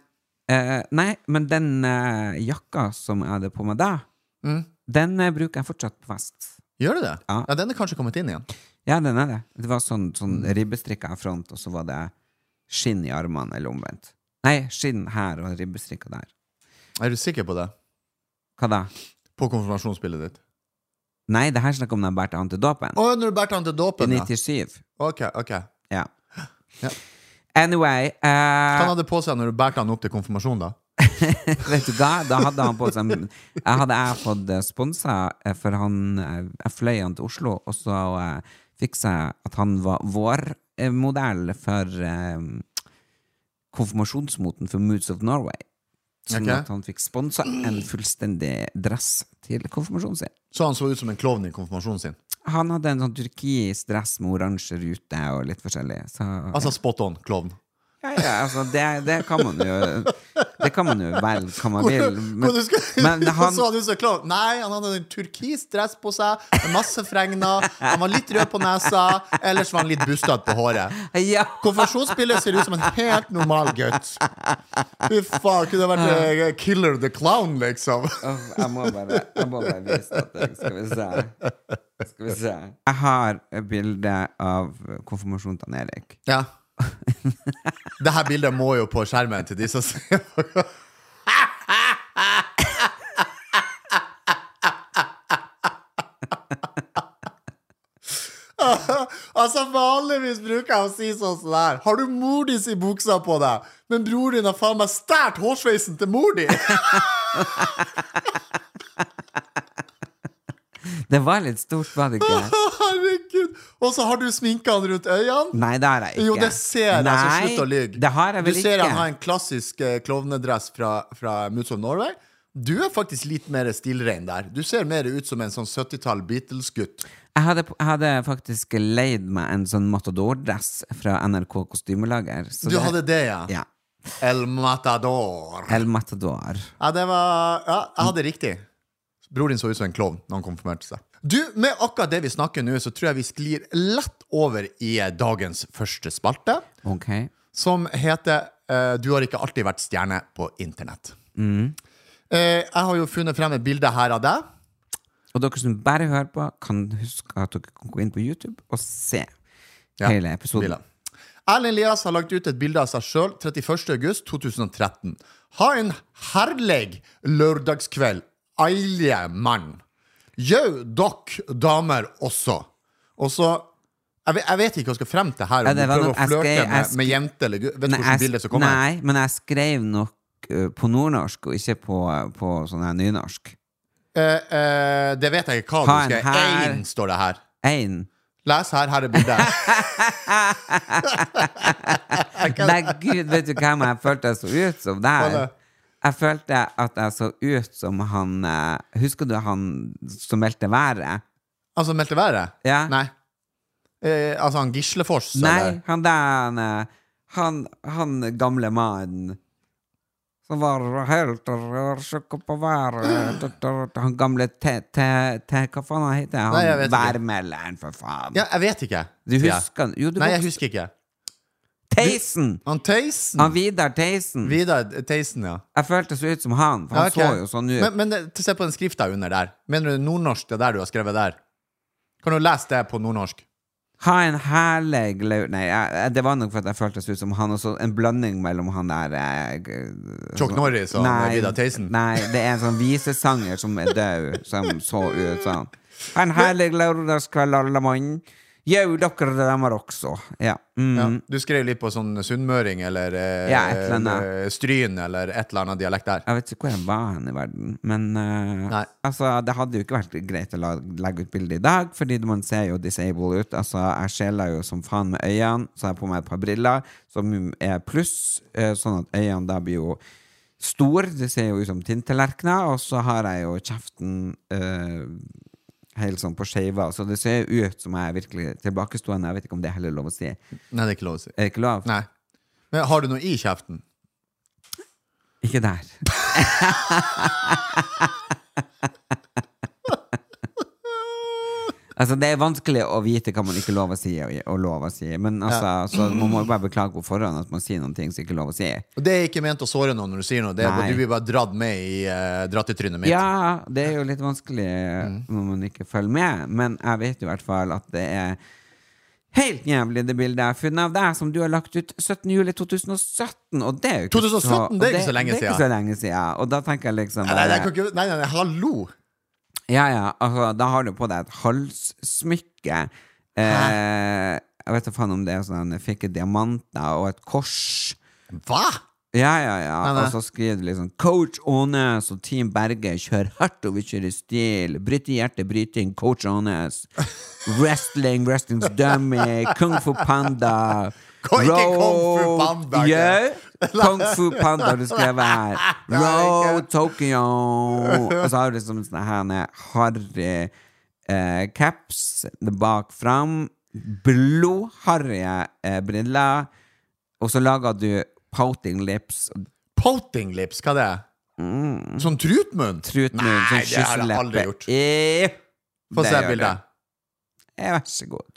Speaker 6: eh, Nei, men den eh, jakka som jeg hadde på meg da,
Speaker 7: Mm.
Speaker 6: den eh, bruker jeg fortsatt på fest.
Speaker 7: gjør du det?
Speaker 6: Ja.
Speaker 7: Ja, den er kanskje kommet inn igjen.
Speaker 6: Ja, den er det. Det var sånn, sånn
Speaker 7: Mm.
Speaker 6: ribbestrikka front, og så var det skinn i armene, eller omvendt. Nei, skinn her og ribbestrikka der.
Speaker 7: Er du sikker på det?
Speaker 6: Hva da?
Speaker 7: På konfirmasjonsbildet ditt?
Speaker 6: Nei, det her snakker om da jeg bærte han til dåpen.
Speaker 7: Å, når du bærte han til
Speaker 6: I
Speaker 7: dåpen, ja.
Speaker 6: 97.
Speaker 7: Ok, ok.
Speaker 6: Ja.
Speaker 7: Ja.
Speaker 6: Anyway
Speaker 7: Hva han
Speaker 6: eh,
Speaker 7: hadde på seg når du bærte han opp til konfirmasjon, da?
Speaker 6: Vet du hva? Da hadde han på seg Jeg hadde jeg fått sponsa, eh, for han eh, Jeg fløy han til Oslo, og så eh, fiksa jeg at han var vår eh, modell for eh, konfirmasjonsmoten for Moods of Norway. Sånn
Speaker 7: Ok.
Speaker 6: at han fikk sponsa en fullstendig dress til konfirmasjonen sin.
Speaker 7: Så han så ut som en klovn i konfirmasjonen sin.
Speaker 6: Han hadde en sånn turkis dress med oransje rute og litt forskjellig. Så,
Speaker 7: Altså spot on klovn.
Speaker 6: Ja, ja, altså, det, det kan man jo Det kan man jo velge hva man vil.
Speaker 7: Men, du skal,
Speaker 6: men han,
Speaker 7: så hadde du så klart Nei, han hadde en turkis dress på seg, med masse fregner, han var litt rød på nesa, ellers var han litt bustete på håret.
Speaker 6: ja,
Speaker 7: Konfirmasjonsbildet ser ut som en helt normal gutt. Fy faen, kunne det vært eh, Killer the Clown, liksom?
Speaker 6: Åh, jeg, må bare, jeg må bare vise at jeg Skal vi se. Skal vi se. Jeg har et bilde av konfirmasjonen til han Erik.
Speaker 7: Ja. Det her bildet må jo på skjermen til de som ser på. altså Vanligvis bruker jeg å si sånn som det her. Har du mor di si buksa på deg? Men bror din har faen meg stært hårsveisen til mor di!
Speaker 6: Det var litt stort, var det ikke?
Speaker 7: Herregud! Og så har du sminka han rundt øynene.
Speaker 6: Nei, det har jeg ikke.
Speaker 7: Jo, det ser jeg, så
Speaker 6: Nei,
Speaker 7: slutt å lyve.
Speaker 6: Det har jeg vel
Speaker 7: Du ser
Speaker 6: ikke.
Speaker 7: han har en klassisk eh, klovnedress fra, fra Moods of Norway. Du er faktisk litt mer stilrein der. Du ser mer ut som en sånn 70-tall Beatles-gutt.
Speaker 6: Jeg hadde, jeg hadde faktisk leid meg en sånn matador-dress fra NRK Kostymelager. så
Speaker 7: Du hadde det, ja.
Speaker 6: Ja.
Speaker 7: El Matador.
Speaker 6: El Matador.
Speaker 7: Ja, det var Ja, jeg hadde riktig. Bror din så ut som en klovn når han konfirmerte seg. Du, Med akkurat det vi snakker nå, så tror jeg vi sklir lett over i eh, dagens første spalte,
Speaker 6: Ok.
Speaker 7: som heter eh, 'Du har ikke alltid vært stjerne på internett'.
Speaker 6: Mm.
Speaker 7: Eh, jeg har jo funnet frem et bilde her av deg.
Speaker 6: Og dere som bare hører på, kan huske at dere kan gå inn på YouTube og se
Speaker 7: Ja,
Speaker 6: hele episoden.
Speaker 7: Bilen. Erlend Elias har lagt ut et bilde av seg sjøl 31.8.2013. Ha en herlig lørdagskveld, alle mann. Jau, dokk damer også. Og så jeg vet, jeg vet ikke hva jeg skal frem til her.
Speaker 6: Ja,
Speaker 7: Om du
Speaker 6: det var
Speaker 7: prøver
Speaker 6: noe-
Speaker 7: å
Speaker 6: jeg
Speaker 7: flørte
Speaker 6: skrev- jeg
Speaker 7: med,
Speaker 6: sk-
Speaker 7: med jente eller gutt. Vet du
Speaker 6: Nei,
Speaker 7: hvilket
Speaker 6: jeg,
Speaker 7: bilde
Speaker 6: s-
Speaker 7: som kommer?
Speaker 6: nei, men jeg skrev nok eh, på nordnorsk, og ikke på, på sånn her nynorsk.
Speaker 7: Eh, eh, det vet jeg ikke hva
Speaker 6: Ha
Speaker 7: du
Speaker 6: en
Speaker 7: skal.
Speaker 6: her-
Speaker 7: Ein står det her.
Speaker 6: Én.
Speaker 7: Les her, her er bildet.
Speaker 6: Nei, gud, vet du hvem jeg følte jeg så ut som der?
Speaker 7: Hva da?
Speaker 6: Jeg følte at jeg så ut som han eh, Husker du han som meldte været?
Speaker 7: Han som meldte været?
Speaker 6: Ja.
Speaker 7: Altså, Nei. Eh, altså han Gislefors?
Speaker 6: Nei,
Speaker 7: eller?
Speaker 6: han der han, eh, han, han gamle mannen som var helt rørsjokk på været eh, Han gamle te... te, te hva faen han heter han?
Speaker 7: Nei, jeg vet ikke.
Speaker 6: Værmelderen, for faen.
Speaker 7: Ja, jeg vet ikke.
Speaker 6: Du
Speaker 7: sier jeg.
Speaker 6: husker han? Jo, du
Speaker 7: Nei, jeg
Speaker 6: vokste-
Speaker 7: husker ikke.
Speaker 6: Theisen!
Speaker 7: Han Theisen?
Speaker 6: Han Vidar Theisen.
Speaker 7: Vidar Theisen, ja.
Speaker 6: Jeg følte så ut som han, for
Speaker 7: Ja,
Speaker 6: han
Speaker 7: ok.
Speaker 6: så jo sånn ut.
Speaker 7: Men, men eh, se på den skrifta under der. Mener du nordnorsk, det der du har skrevet der? Kan du lese det på nordnorsk?
Speaker 6: Ha en herlig lau... Nei, jeg, jeg- det var nok for at jeg føltes ut som han også. En blanding mellom han der eh, g-
Speaker 7: Chuck
Speaker 6: sånn-
Speaker 7: Norris og
Speaker 6: Nei,
Speaker 7: Vidar Theisen?
Speaker 6: Nei, det er en sånn visesanger som er død, som så ut sånn. Ha en herlig lørdagskveld, alle mann. Jau, dere damer også. Ja. Mm.
Speaker 7: Ja. Du skrev litt på sånn sunnmøring eller eh,
Speaker 6: Ja, et eller annet.
Speaker 7: eh, Stryn eller et eller annet dialekt der.
Speaker 6: Jeg vet ikke hvor jeg var hen i verden, men eh,
Speaker 7: Nei.
Speaker 6: altså, det hadde jo ikke vært greit å la, legge ut bilde i dag, fordi man ser jo disable ut. Altså, jeg skjeler jo som faen med øynene, så har jeg på meg et par briller som er pluss, eh, sånn at øynene da blir jo store, det ser jo ut som tinntallerkener, og så har jeg jo kjeften eh, helt sånn på skeiva, så det ser jo ut som jeg er virkelig tilbakestående. Jeg vet ikke om det er heller lov å si. Er
Speaker 7: Nei, det er ikke lov å si.
Speaker 6: det ikke lov?
Speaker 7: Nei. Men har du noe i kjeften?
Speaker 6: Ikke der. altså, det er vanskelig å vite hva man ikke lover å si, og, og lov å si. Men altså, så man må jo bare beklage på forhånd at man sier noen ting som ikke er lov å si.
Speaker 7: Og det er ikke ment å såre noen når du sier noe. Det er
Speaker 6: Nei.
Speaker 7: bare, du blir bare dratt med i eh, dratt i trynet mitt.
Speaker 6: Ja, det er jo litt vanskelig
Speaker 7: Mm.
Speaker 6: når man ikke følger med, men jeg vet jo i hvert fall at det er helt jævlig, det bildet jeg har funnet av deg, som du har lagt ut 17. juli 2017. Og det er jo ikke
Speaker 7: 2017, det er ikke så lenge
Speaker 6: Det er ikke så lenge siden. Og da tenker jeg liksom
Speaker 7: Nei, nei,
Speaker 6: bare-
Speaker 7: jeg kan ikke- nei, nei, nei, hallo!
Speaker 6: Ja, ja, altså, da har du på deg et halssmykke. Eh, jeg vet da faen om det er sånn Jeg fikk diamanter og et kors.
Speaker 7: Hva?!
Speaker 6: Ja, ja, ja.
Speaker 7: Nei, nei.
Speaker 6: Og så skriver du liksom Coach Aanes og Team Berge kjør hardt og vi kjører stil. Bryte hjertet, bryting. Coach Aanes. Wrestling, wrestling's dummy. Kung fu panda.
Speaker 7: Kan ikke Kung Fu
Speaker 6: Road-
Speaker 7: Panda, ikke?
Speaker 6: Jau, Kung fu panda du skrev her. Road Tokyo. Og så har du liksom sånne her ne, harry eh, caps bak fram. Blodharrige eh, briller. Og så lager du pouting lips. og
Speaker 7: Pouting lips, hva er det? Sånn trutmunn?
Speaker 6: Mm. Trutmunn,
Speaker 7: Nei,
Speaker 6: sånn
Speaker 7: det har jeg aldri
Speaker 6: kysseleppe.
Speaker 7: gjort.
Speaker 6: Eh,
Speaker 7: Få
Speaker 6: det
Speaker 7: se
Speaker 6: gjør
Speaker 7: bildet.
Speaker 6: du. Eh, Vær så god.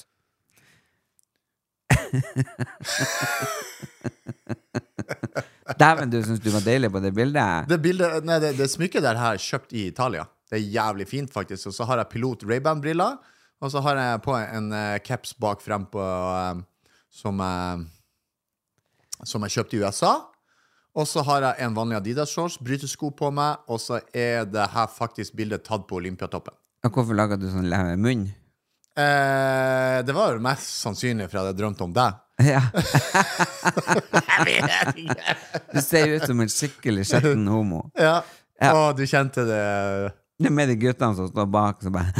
Speaker 6: Dæven, du syns du var deilig på det bildet.
Speaker 7: Det, bildet, nei, det, det smykket der har jeg kjøpt i Italia. Det er jævlig fint, faktisk. Og så har jeg pilot Ray-Ban-briller, og så har jeg på en eh, caps bak frem på eh, som, jeg- som jeg kjøpte i USA. Og så har jeg en vanlig Adidas-shorts, brytesko på meg, og så er det her faktisk bildet tatt på Olympiatoppen.
Speaker 6: Og hvorfor lager du sånn le- munn?
Speaker 7: Eh, det var jo mest sannsynlig for jeg hadde drømt om deg.
Speaker 6: Ja. Du ser ut som en skikkelig skjetten homo.
Speaker 7: Ja.
Speaker 6: Ja.
Speaker 7: Å, du kjente det
Speaker 6: Det er med de guttene som står bak, som bare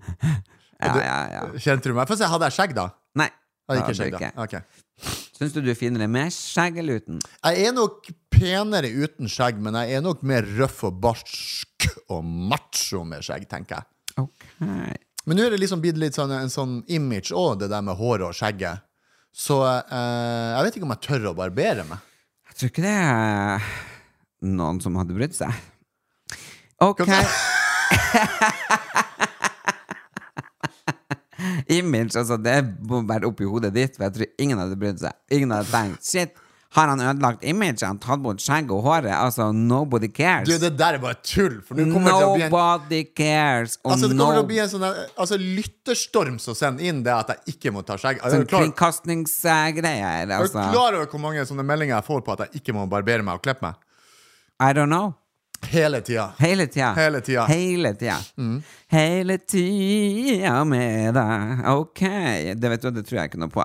Speaker 6: Ja, ja, ja.
Speaker 7: Kjente du meg? Få se, hadde jeg skjegg, da?
Speaker 6: Nei.
Speaker 7: Hadde
Speaker 6: det
Speaker 7: ikke skjegg,
Speaker 6: hadde du
Speaker 7: da. Ok.
Speaker 6: Syns du du er finere med skjegg eller uten?
Speaker 7: Jeg er nok penere uten skjegg, men jeg er nok mer røff og barsk og macho med skjegg, tenker jeg.
Speaker 6: Ok.
Speaker 7: Men nå er det liksom blitt litt sånn, en sånn image òg, det der med håret og skjegget. Så eh, jeg vet ikke om jeg tør å barbere meg.
Speaker 6: Jeg tror ikke det er noen som hadde brydd seg. Ok. Image, altså. Det må være oppi hodet ditt, for jeg tror ingen hadde brydd seg. Ingen hadde tenkt Shit, har han ødelagt imaget? Han tatt bort skjegget og håret? Altså, nobody cares.
Speaker 7: Du, det der er bare tull! For nå kommer det til å bli en
Speaker 6: Nobody cares. Og
Speaker 7: Altså, det kommer til å bli
Speaker 6: no
Speaker 7: en sånn der- altså, lytterstorm som sender inn det at jeg ikke må ta skjegg. Altså, Er
Speaker 6: sånn
Speaker 7: du klar,
Speaker 6: kringkastingsgreier.
Speaker 7: er du
Speaker 6: Altså.
Speaker 7: klar over hvor mange sånne meldinger jeg får på at jeg ikke må barbere meg og klippe meg?
Speaker 6: I don't know.
Speaker 7: Hele tida.
Speaker 6: Hele tida.
Speaker 7: Hele tida. Mm.
Speaker 6: Hele tida. Hele tida med deg. Ok. Det vet du, det tror jeg ikke noe på.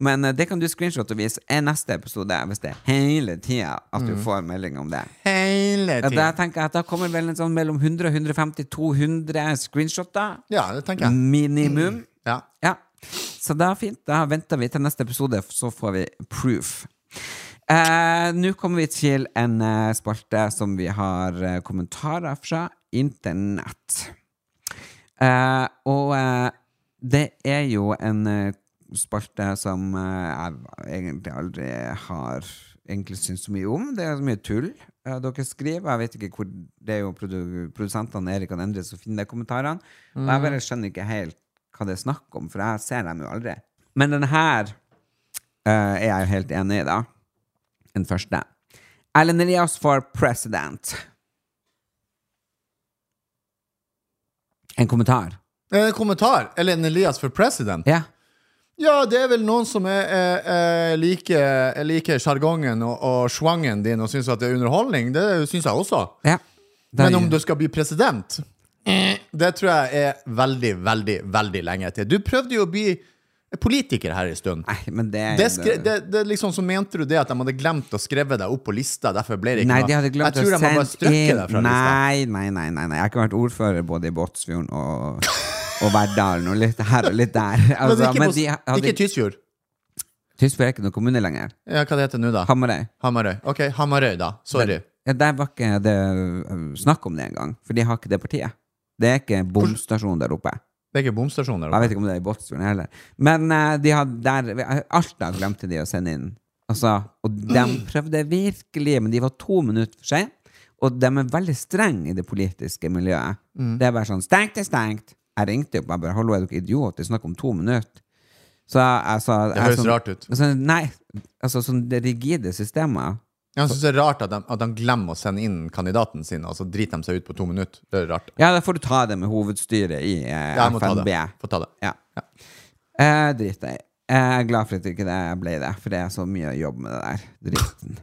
Speaker 6: Men eh, det kan du screenshot og vise i neste episode, hvis det er hele tida at du får melding om det.
Speaker 7: Mm. Hele
Speaker 6: Ja, da
Speaker 7: tida.
Speaker 6: tenker jeg at da kommer vel en sånn mellom 100 og 150 200 screenshotter.
Speaker 7: Ja, det tenker jeg.
Speaker 6: Minimum.
Speaker 7: Ja.
Speaker 6: Ja. Så det er fint. Da venter vi til neste episode, så får vi proof. Eh, Nå kommer vi til en eh, spalte som vi har eh, kommentarer fra internett. Eh, og eh, det er jo en eh, spalte som eh, jeg egentlig aldri har egentlig syntes så mye om. Det er så mye tull eh, dere skriver. Jeg vet ikke hvor Det er jo produ produsentene Erik og Endre som finner de kommentarene. Og jeg bare skjønner ikke helt hva det er snakk om, for jeg ser dem jo aldri. Men den her eh, er jeg jo helt enig i, da. Den første. Erlend Elias for president. En kommentar.
Speaker 7: En Eh, kommentar. Ellen Elias for president.
Speaker 6: Ja.
Speaker 7: Ja, det er vel noen som er, er, er liker like sjargongen og, og swangen din og syns at det er underholdning. Det syns jeg også.
Speaker 6: ja. Da-
Speaker 7: Men om du skal bli president, det tror jeg er veldig, veldig, veldig lenge til. Du prøvde jo å bli politiker her en stund.
Speaker 6: Nei, men det, er
Speaker 7: Det,
Speaker 6: jo-
Speaker 7: skre, det, det er liksom Så mente du det at de hadde glemt å skrevet deg opp på lista. Derfor ble det ikke
Speaker 6: Nei,
Speaker 7: noe.
Speaker 6: de hadde glemt
Speaker 7: jeg tror de har bare strøkket deg fra lista.
Speaker 6: nei, nei, nei, nei, nei. Jeg har ikke vært ordfører både i Båtsfjorden og, og Verdalen, og litt her og litt der.
Speaker 7: Men
Speaker 6: Altså,
Speaker 7: ikke,
Speaker 6: men
Speaker 7: på,
Speaker 6: de hadde,
Speaker 7: ikke Tysfjord.
Speaker 6: Tysfjord er ikke noen kommune lenger.
Speaker 7: Ja, hva det heter det nå, da?
Speaker 6: Hamarøy.
Speaker 7: Hamarøy. OK, Hamarøy, da. Ah, Sorry.
Speaker 6: Ja, der var ikke det øh, snakk om det engang, for de har ikke det partiet. Det er ikke bomstasjon der oppe.
Speaker 7: Det er ikke bomstasjon der
Speaker 6: Jeg
Speaker 7: oppe.
Speaker 6: vet ikke om det er i Båtsfjorden heller. Men eh, de hadde der Alta glemte de å sende inn. Altså, og de prøvde virkelig, men de var to minutter for sent. Og de er veldig strenge i det politiske miljøet.
Speaker 7: Mm.
Speaker 6: Det er bare sånn stengt er stengt. Jeg ringte opp og bare 'hallo, er dere idioter?' Snakk om to minutter. Så jeg altså,
Speaker 7: Det høres rart ut.
Speaker 6: Altså, nei, altså sånn det rigide systemet.
Speaker 7: Jeg synes det er rart at de, at de glemmer å sende inn kandidaten sin, og så driter de seg ut på to minutter. Det er rart.
Speaker 6: Ja, da får du ta det med hovedstyret i eh,
Speaker 7: Jeg må ta
Speaker 6: FNB.
Speaker 7: det. Få ta det.
Speaker 6: Ja. Eh, drit deg. Jeg er glad for at det ikke det ble det, for det er så mye jobb med det der. Dritten.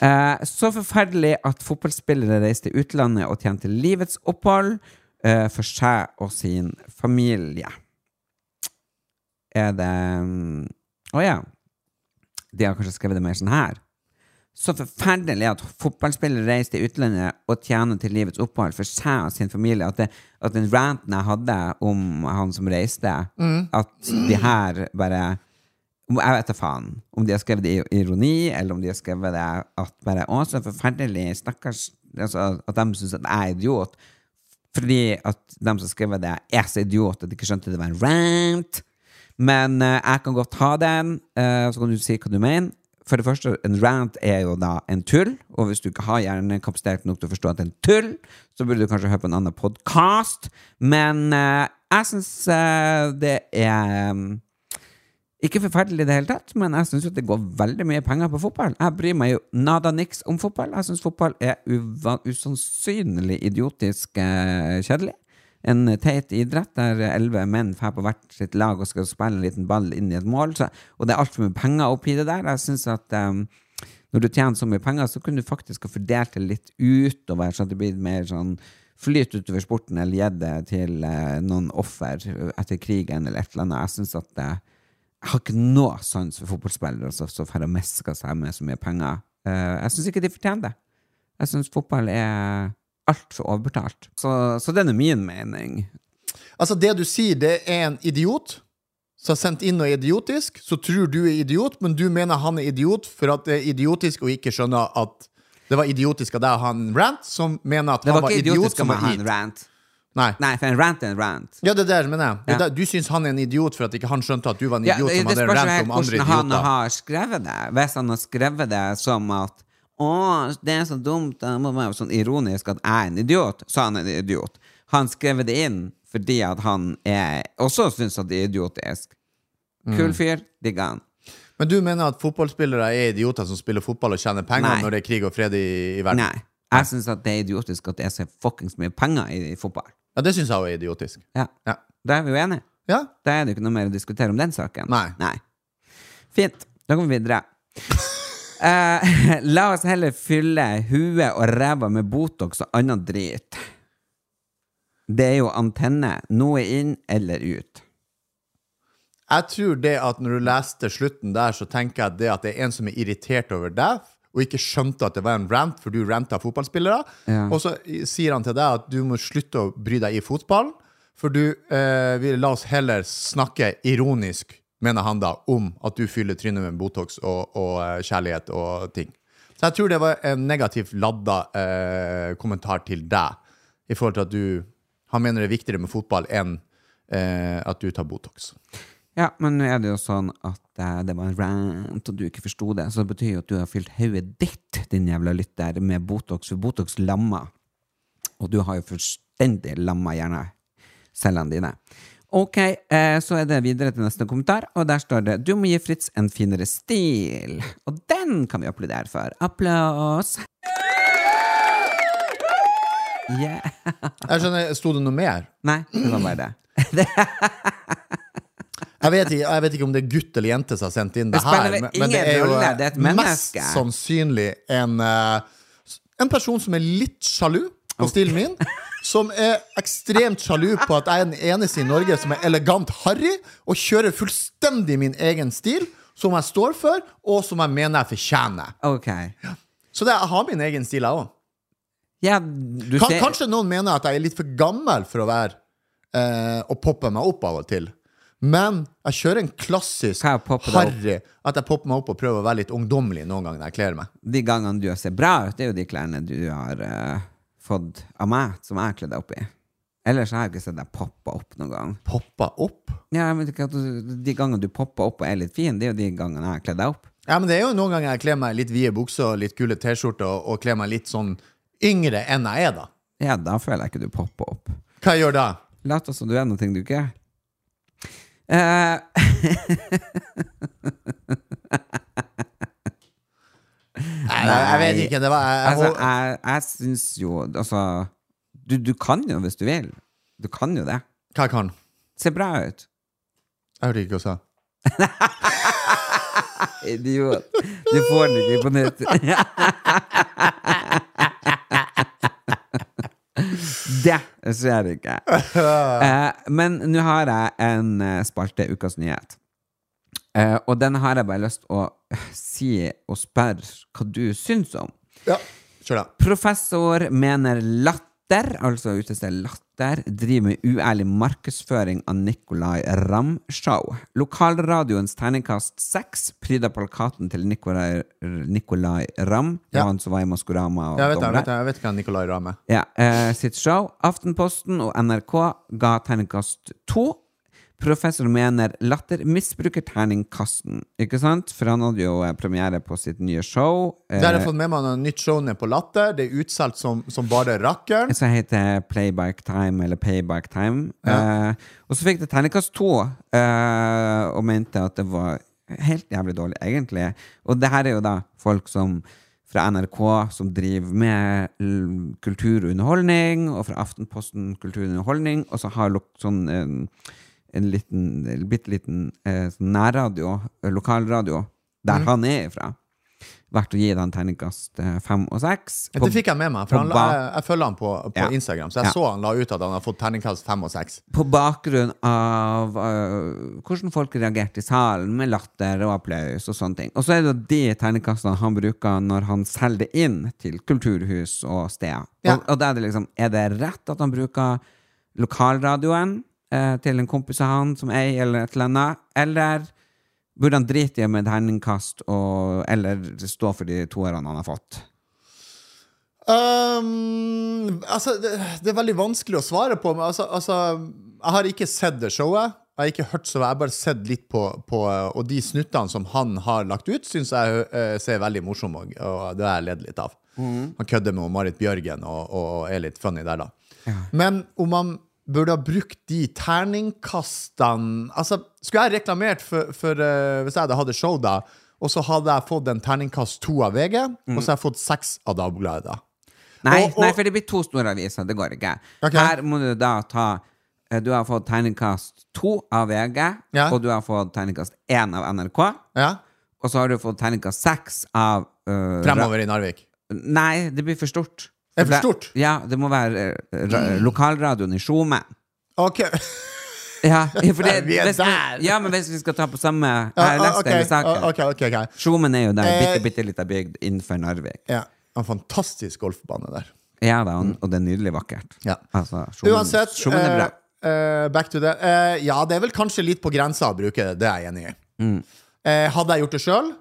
Speaker 6: Eh, så forferdelig at fotballspillere reiste til utlandet og tjente livets opphold eh, for seg og sin familie. Er det mm, Å ja. De har kanskje skrevet det mer sånn her. Så forferdelig at fotballspillere reiser til utlandet og tjener til livets opphold for seg og sin familie. At, det, at den ranten jeg hadde om han som reiste, at de her bare om- Jeg vet da faen om de har skrevet det i ironi, eller om de har skrevet det at bare Å, så forferdelig, stakkars altså, At de syns at jeg er idiot. Fordi at de som skrev det, er så idiot at de ikke skjønte det var en rant. Men eh, jeg kan godt ha den, eh, så kan du si hva du mener. For det første, en rant er jo da en tull, og hvis du ikke har hjernekapasitet nok til å forstå at det er en tull, så burde du kanskje høre på en annen podkast. Men eh, jeg syns eh, det er mm, ikke forferdelig i det hele tatt, men jeg syns det går veldig mye penger på fotball. Jeg bryr meg jo nada niks om fotball. Jeg syns fotball er uva- usannsynlig idiotisk eh, kjedelig. En teit idrett der elleve menn drar på hvert sitt lag og skal spille en liten ball inn i et mål, så, og det er altfor mye penger oppi det der. Jeg synes at eh, når du tjener så mye penger, så kunne du faktisk ha fordelt det litt utover, så at det blir mer sånn flyt utover sporten, eller gitt det til eh, noen offer etter krigen, eller et eller annet. Jeg synes at eh, jeg har ikke noe sans for fotballspillere som som får meska seg med så mye penger. Eh, jeg syns ikke de fortjener det. Jeg syns fotball er altfor overbetalt. Så, så den er min mening.
Speaker 7: Altså, det du sier, det er en idiot som har sendt inn noe idiotisk. Så tror du er idiot, men du mener han er idiot for at det er idiotisk og ikke skjønner at det var idiotisk av deg å ha en rant som mener at
Speaker 6: Det
Speaker 7: han
Speaker 6: var
Speaker 7: var
Speaker 6: ikke
Speaker 7: idiot
Speaker 6: idiotisk
Speaker 7: som
Speaker 6: om å
Speaker 7: var
Speaker 6: ha
Speaker 7: it.
Speaker 6: en rant.
Speaker 7: Nei.
Speaker 6: Nei, for en rant er en rant.
Speaker 7: Ja, det er det jeg mener. Det er
Speaker 6: Ja.
Speaker 7: der- Du syns han er en idiot for at ikke han skjønte at du var en
Speaker 6: Ja,
Speaker 7: idiot
Speaker 6: det,
Speaker 7: som
Speaker 6: det
Speaker 7: hadde
Speaker 6: spørs jo
Speaker 7: rant
Speaker 6: helt
Speaker 7: om andre
Speaker 6: hvordan han
Speaker 7: idioter.
Speaker 6: har skrevet det. Hvis han har skrevet det som at å, det er så dumt, det må være sånn ironisk at jeg er en idiot, så er han en idiot. Han skrev det inn fordi at han er, også syns at det er idiotisk.
Speaker 7: Mm.
Speaker 6: Kul fyr, digger han.
Speaker 7: Men du mener at fotballspillere er idioter som spiller fotball og tjener penger
Speaker 6: Nei.
Speaker 7: når det er krig og fred i, i verden?
Speaker 6: Nei. Jeg syns det er idiotisk at det er så fuckings mye penger i, i fotball.
Speaker 7: Ja, det syns jeg også er idiotisk.
Speaker 6: Ja.
Speaker 7: Ja.
Speaker 6: Da er vi jo enige.
Speaker 7: ja.
Speaker 6: Da er det jo ikke noe mer å diskutere om den saken.
Speaker 7: Nei.
Speaker 6: Fint. Da går vi videre. Eh, la oss heller fylle huet og ræva med Botox og annen drit. Det er jo antenne. Noe inn eller ut.
Speaker 7: Jeg tror det at når du leste slutten der, så tenker jeg det at det er en som er irritert over deg, og ikke skjønte at det var en rant, for du ranta fotballspillere.
Speaker 6: Ja.
Speaker 7: Og så sier han til deg at du må slutte å bry deg i fotballen, for du eh, vil la oss heller snakke ironisk, mener han da, om at du fyller trynet med Botox og, og eh, kjærlighet og ting. Så jeg tror det var en negativt ladda eh, kommentar til deg, i forhold til at du Han mener det er viktigere med fotball enn eh, at du tar Botox.
Speaker 6: Ja, men nå er det jo sånn at eh, det var en rant, og du ikke forsto det, så det betyr jo at du har fylt hodet ditt, din jævla lytter, med Botox, for Botox lammer. Og du har jo fullstendig lamma hjerne, cellene dine. Ok, eh, så er det videre til neste kommentar, og der står det 'Du må gi Fritz en finere stil'. Og den kan vi applaudere for. Applaus! Yeah.
Speaker 7: Jeg skjønner, Sto det noe mer?
Speaker 6: Nei, det var bare det.
Speaker 7: Jeg vet, ikke, jeg vet ikke om det er gutt eller jente som har sendt inn det
Speaker 6: Det
Speaker 7: her,
Speaker 6: spiller vel
Speaker 7: men,
Speaker 6: ingen
Speaker 7: men det er jo
Speaker 6: rolle,
Speaker 7: eh,
Speaker 6: det er et menneske.
Speaker 7: mest sannsynlig en, eh, en person som er litt sjalu på stilen min. Som er ekstremt sjalu på at jeg er den eneste i Norge som er elegant harry og kjører fullstendig min egen stil, som jeg står for, og som jeg mener jeg fortjener.
Speaker 6: Ok.
Speaker 7: Så det, jeg har min egen stil, jeg òg.
Speaker 6: Ja, du
Speaker 7: Kan,
Speaker 6: ser
Speaker 7: kanskje noen mener at jeg er litt for gammel for å være eh, Å poppe meg opp av og til. Men jeg kjører en klassisk
Speaker 6: Hva er å poppe deg opp?
Speaker 7: harry. At jeg popper meg opp og prøver å være litt ungdommelig noen ganger når jeg kler meg.
Speaker 6: de gangene du ser bra ut, det er jo de klærne du har eh, fått av meg, som jeg har kledd deg opp i. Ellers har jeg ikke sett deg poppe opp noen gang.
Speaker 7: Poppa opp?
Speaker 6: Ja, jeg vet ikke at du, De gangene du popper opp og er litt fin, det er jo de gangene jeg har kledd deg opp.
Speaker 7: Ja, men det er jo noen ganger jeg kler meg i litt vide bukser og litt kule T-skjorter og, og kler meg litt sånn yngre enn jeg er, da.
Speaker 6: Ja, da føler jeg ikke du popper opp.
Speaker 7: Hva jeg gjør da?
Speaker 6: Lat oss som du er noe du ikke er. Eh,
Speaker 7: Nei, jeg, jeg vet ikke. Det var jeg,
Speaker 6: altså,
Speaker 7: og-
Speaker 6: jeg, jeg syns jo Altså, du, du kan jo hvis du vil. Du kan jo det.
Speaker 7: Hva jeg kan?
Speaker 6: Se bra ut.
Speaker 7: Jeg hørte ikke hva jeg sa.
Speaker 6: Idiot. Du får den ikke på nytt. Det skjer ikke. Eh, men nå har jeg en eh, spalte Ukas nyhet. Eh, og den har jeg bare lyst å si og spørre hva du syns om.
Speaker 7: Ja, kjør da.
Speaker 6: Professor mener latter, altså utestedet Latter, driver med uærlig markedsføring av Nicolay Ramm-show. Lokalradioens terningkast seks pryder plakaten til Nicolay, Nicolay Ramm, det
Speaker 7: Ja.
Speaker 6: var han som var i Maskorama og
Speaker 7: Jeg vet, det, jeg,
Speaker 6: Dommer.
Speaker 7: vet, det, jeg vet hva Nicolay Ramm er.
Speaker 6: Ja, eh, sitt show. Aftenposten og NRK ga terningkast to. Professor mener latter misbruker terningkasten, ikke sant? For han hadde jo eh, premiere på sitt nye show. eh,
Speaker 7: Der har jeg fått med meg noe nytt show nede på Latter. Det er utsolgt som, som bare rakkeren.
Speaker 6: som heter Playback Time, eller Payback Time. Eh, og så fikk det terningkast to, eh, og mente at det var helt jævlig dårlig, egentlig. Og det her er jo da folk som fra NRK, som driver med l- kultur og underholdning, og fra Aftenposten kultur og underholdning, og så har lok sånn en, en liten, en bitte liten eh, sånn nærradio, eh, lokalradio, der han er ifra. Vært å gi den terningkast eh, fem og seks.
Speaker 7: Det fikk jeg med meg, for
Speaker 6: på
Speaker 7: han, la-
Speaker 6: ba-
Speaker 7: jeg, jeg følger han på, på
Speaker 6: Ja.
Speaker 7: Instagram. Så jeg
Speaker 6: Ja.
Speaker 7: så han la ut at han har fått terningkast fem og seks.
Speaker 6: på bakgrunn av øh, hvordan folk reagerte i salen, med latter og applaus og sånne ting. Og så er det jo de terningkastene han bruker når han selger det inn til kulturhus og steder.
Speaker 7: Ja.
Speaker 6: Og, og da er det liksom Er det rett at han bruker lokalradioen eh, til en kompis av han som eier, eller et eller annet? Eller burde han drite i med terningkast og Eller stå for de toerne han har fått?
Speaker 7: Ehm, altså, det, det er veldig vanskelig å svare på. Men altså, altså, jeg har ikke sett det showet. Jeg har ikke hørt så jeg har bare sett litt på, på Og de snuttene som han har lagt ut, syns jeg eh, ser veldig morsomme ut, og det har jeg ledd litt av. Han kødder med Marit Bjørgen og, og er litt funny der, da. Men om han burde ha brukt de terningkastene Altså, skulle jeg reklamert for, for eh, Hvis jeg hadde hatt et show, da, og så hadde jeg fått en terningkast to av VG, og så har jeg fått seks av Dagbladet, da.
Speaker 6: Nei,
Speaker 7: Og- og-
Speaker 6: nei, for det blir to store aviser. Det går ikke.
Speaker 7: Ok.
Speaker 6: Her må du da ta eh, Du har fått terningkast to av VG,
Speaker 7: Ja.
Speaker 6: og du har fått terningkast én av NRK.
Speaker 7: Ja,
Speaker 6: Og så har du fått terningkast seks av eh,
Speaker 7: Fremover i Narvik.
Speaker 6: ra- Nei, det blir for stort.
Speaker 7: Er det for stort?
Speaker 6: Ja, det må være eh, ra lokalradioen i Tjome.
Speaker 7: Ok,
Speaker 6: Ja, for det,
Speaker 7: Vi er
Speaker 6: hvis
Speaker 7: der!
Speaker 6: ja, men hvis vi skal ta på samme Jeg
Speaker 7: Ja, ah,
Speaker 6: har lest
Speaker 7: ok,
Speaker 6: det i saken.
Speaker 7: ok, ok, ok.
Speaker 6: Tjomen er jo der,
Speaker 7: Eh,
Speaker 6: bitte, bitte lita bygd innenfor Narvik.
Speaker 7: Ja, en fantastisk golfbane der.
Speaker 6: Ja da, og og det er nydelig vakkert.
Speaker 7: Ja.
Speaker 6: Altså, Tjomen-
Speaker 7: Uansett,
Speaker 6: Tjomen er bra.
Speaker 7: eh, eh, back to det. Eh, ja, det er vel kanskje litt på grensa å bruke det, det er jeg enig i.
Speaker 6: Mm.
Speaker 7: Eh, hadde jeg gjort det sjøl?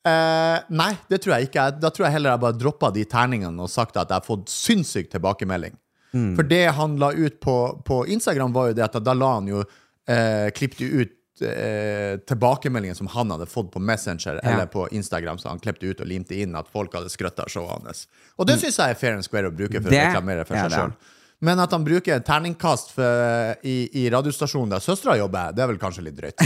Speaker 7: Eh, nei, det tror jeg ikke. Jeg- Da tror jeg heller jeg bare droppa de terningene og sagt at jeg har fått sinnssyk tilbakemelding.
Speaker 6: Mm.
Speaker 7: For det han la ut på, på Instagram, var jo det at da la han jo eh, klippte ut eh, tilbakemeldingen som han hadde fått på Messenger eller på Instagram, så han klippte ut og limte inn at folk hadde skrøtta av showet hans. Og
Speaker 6: Mm.
Speaker 7: det syns jeg er fair and square å bruke for
Speaker 6: Det
Speaker 7: å reklamere for
Speaker 6: er
Speaker 7: seg
Speaker 6: det.
Speaker 7: sjøl. Men at han bruker en terningkast for, i, i radiostasjonen der søstera jobber, det er vel kanskje litt drøyt.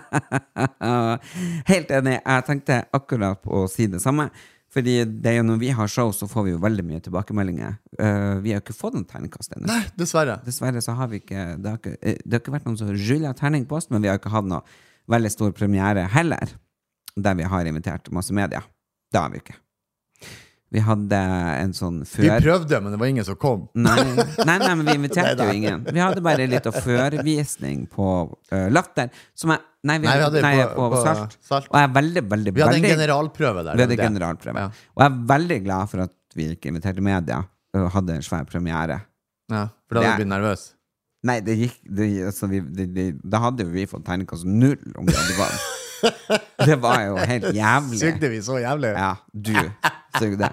Speaker 6: Ja, Helt enig. Jeg tenkte akkurat på å si det samme. Fordi det er jo når vi har show, så får vi jo veldig mye tilbakemeldinger. Eh, vi har jo ikke fått noen terningkast ennå.
Speaker 7: Eh, Dessverre.
Speaker 6: Dessverre så har vi ikke Det har ikke, eh, det har ikke vært noen som ruller terning på oss, men vi har ikke hatt noe veldig stor premiere heller, der vi har invitert masse media. Det har vi ikke. Vi hadde en sånn
Speaker 7: Vi
Speaker 6: før
Speaker 7: prøvde, men det var ingen som kom.
Speaker 6: Nei, nei, nei, men vi
Speaker 7: Nei,
Speaker 6: inviterte jo
Speaker 7: nei.
Speaker 6: ingen. Vi hadde bare litt av førvisning på eh, Latter. Som jeg, nei, vi,
Speaker 7: Nei, vi hadde
Speaker 6: nei,
Speaker 7: på-
Speaker 6: på,
Speaker 7: på
Speaker 6: salt.
Speaker 7: Salt.
Speaker 6: Og jeg er veldig, veldig,
Speaker 7: Vi hadde en
Speaker 6: veldig
Speaker 7: generalprøve der.
Speaker 6: vi hadde
Speaker 7: det var det.
Speaker 6: generalprøve.
Speaker 7: Ja.
Speaker 6: Og jeg er veldig glad for at vi ikke inviterte media og hadde en svær premiere.
Speaker 7: Ja, for da hadde du
Speaker 6: Det-
Speaker 7: blitt nervøs.
Speaker 6: Nei, det gikk det, altså, vi, det, det, Da hadde jo vi fått tegnekast null om vi hadde vunnet. Det var jo helt jævlig.
Speaker 7: Sugde vi så jævlig?
Speaker 6: Ja, du sugde.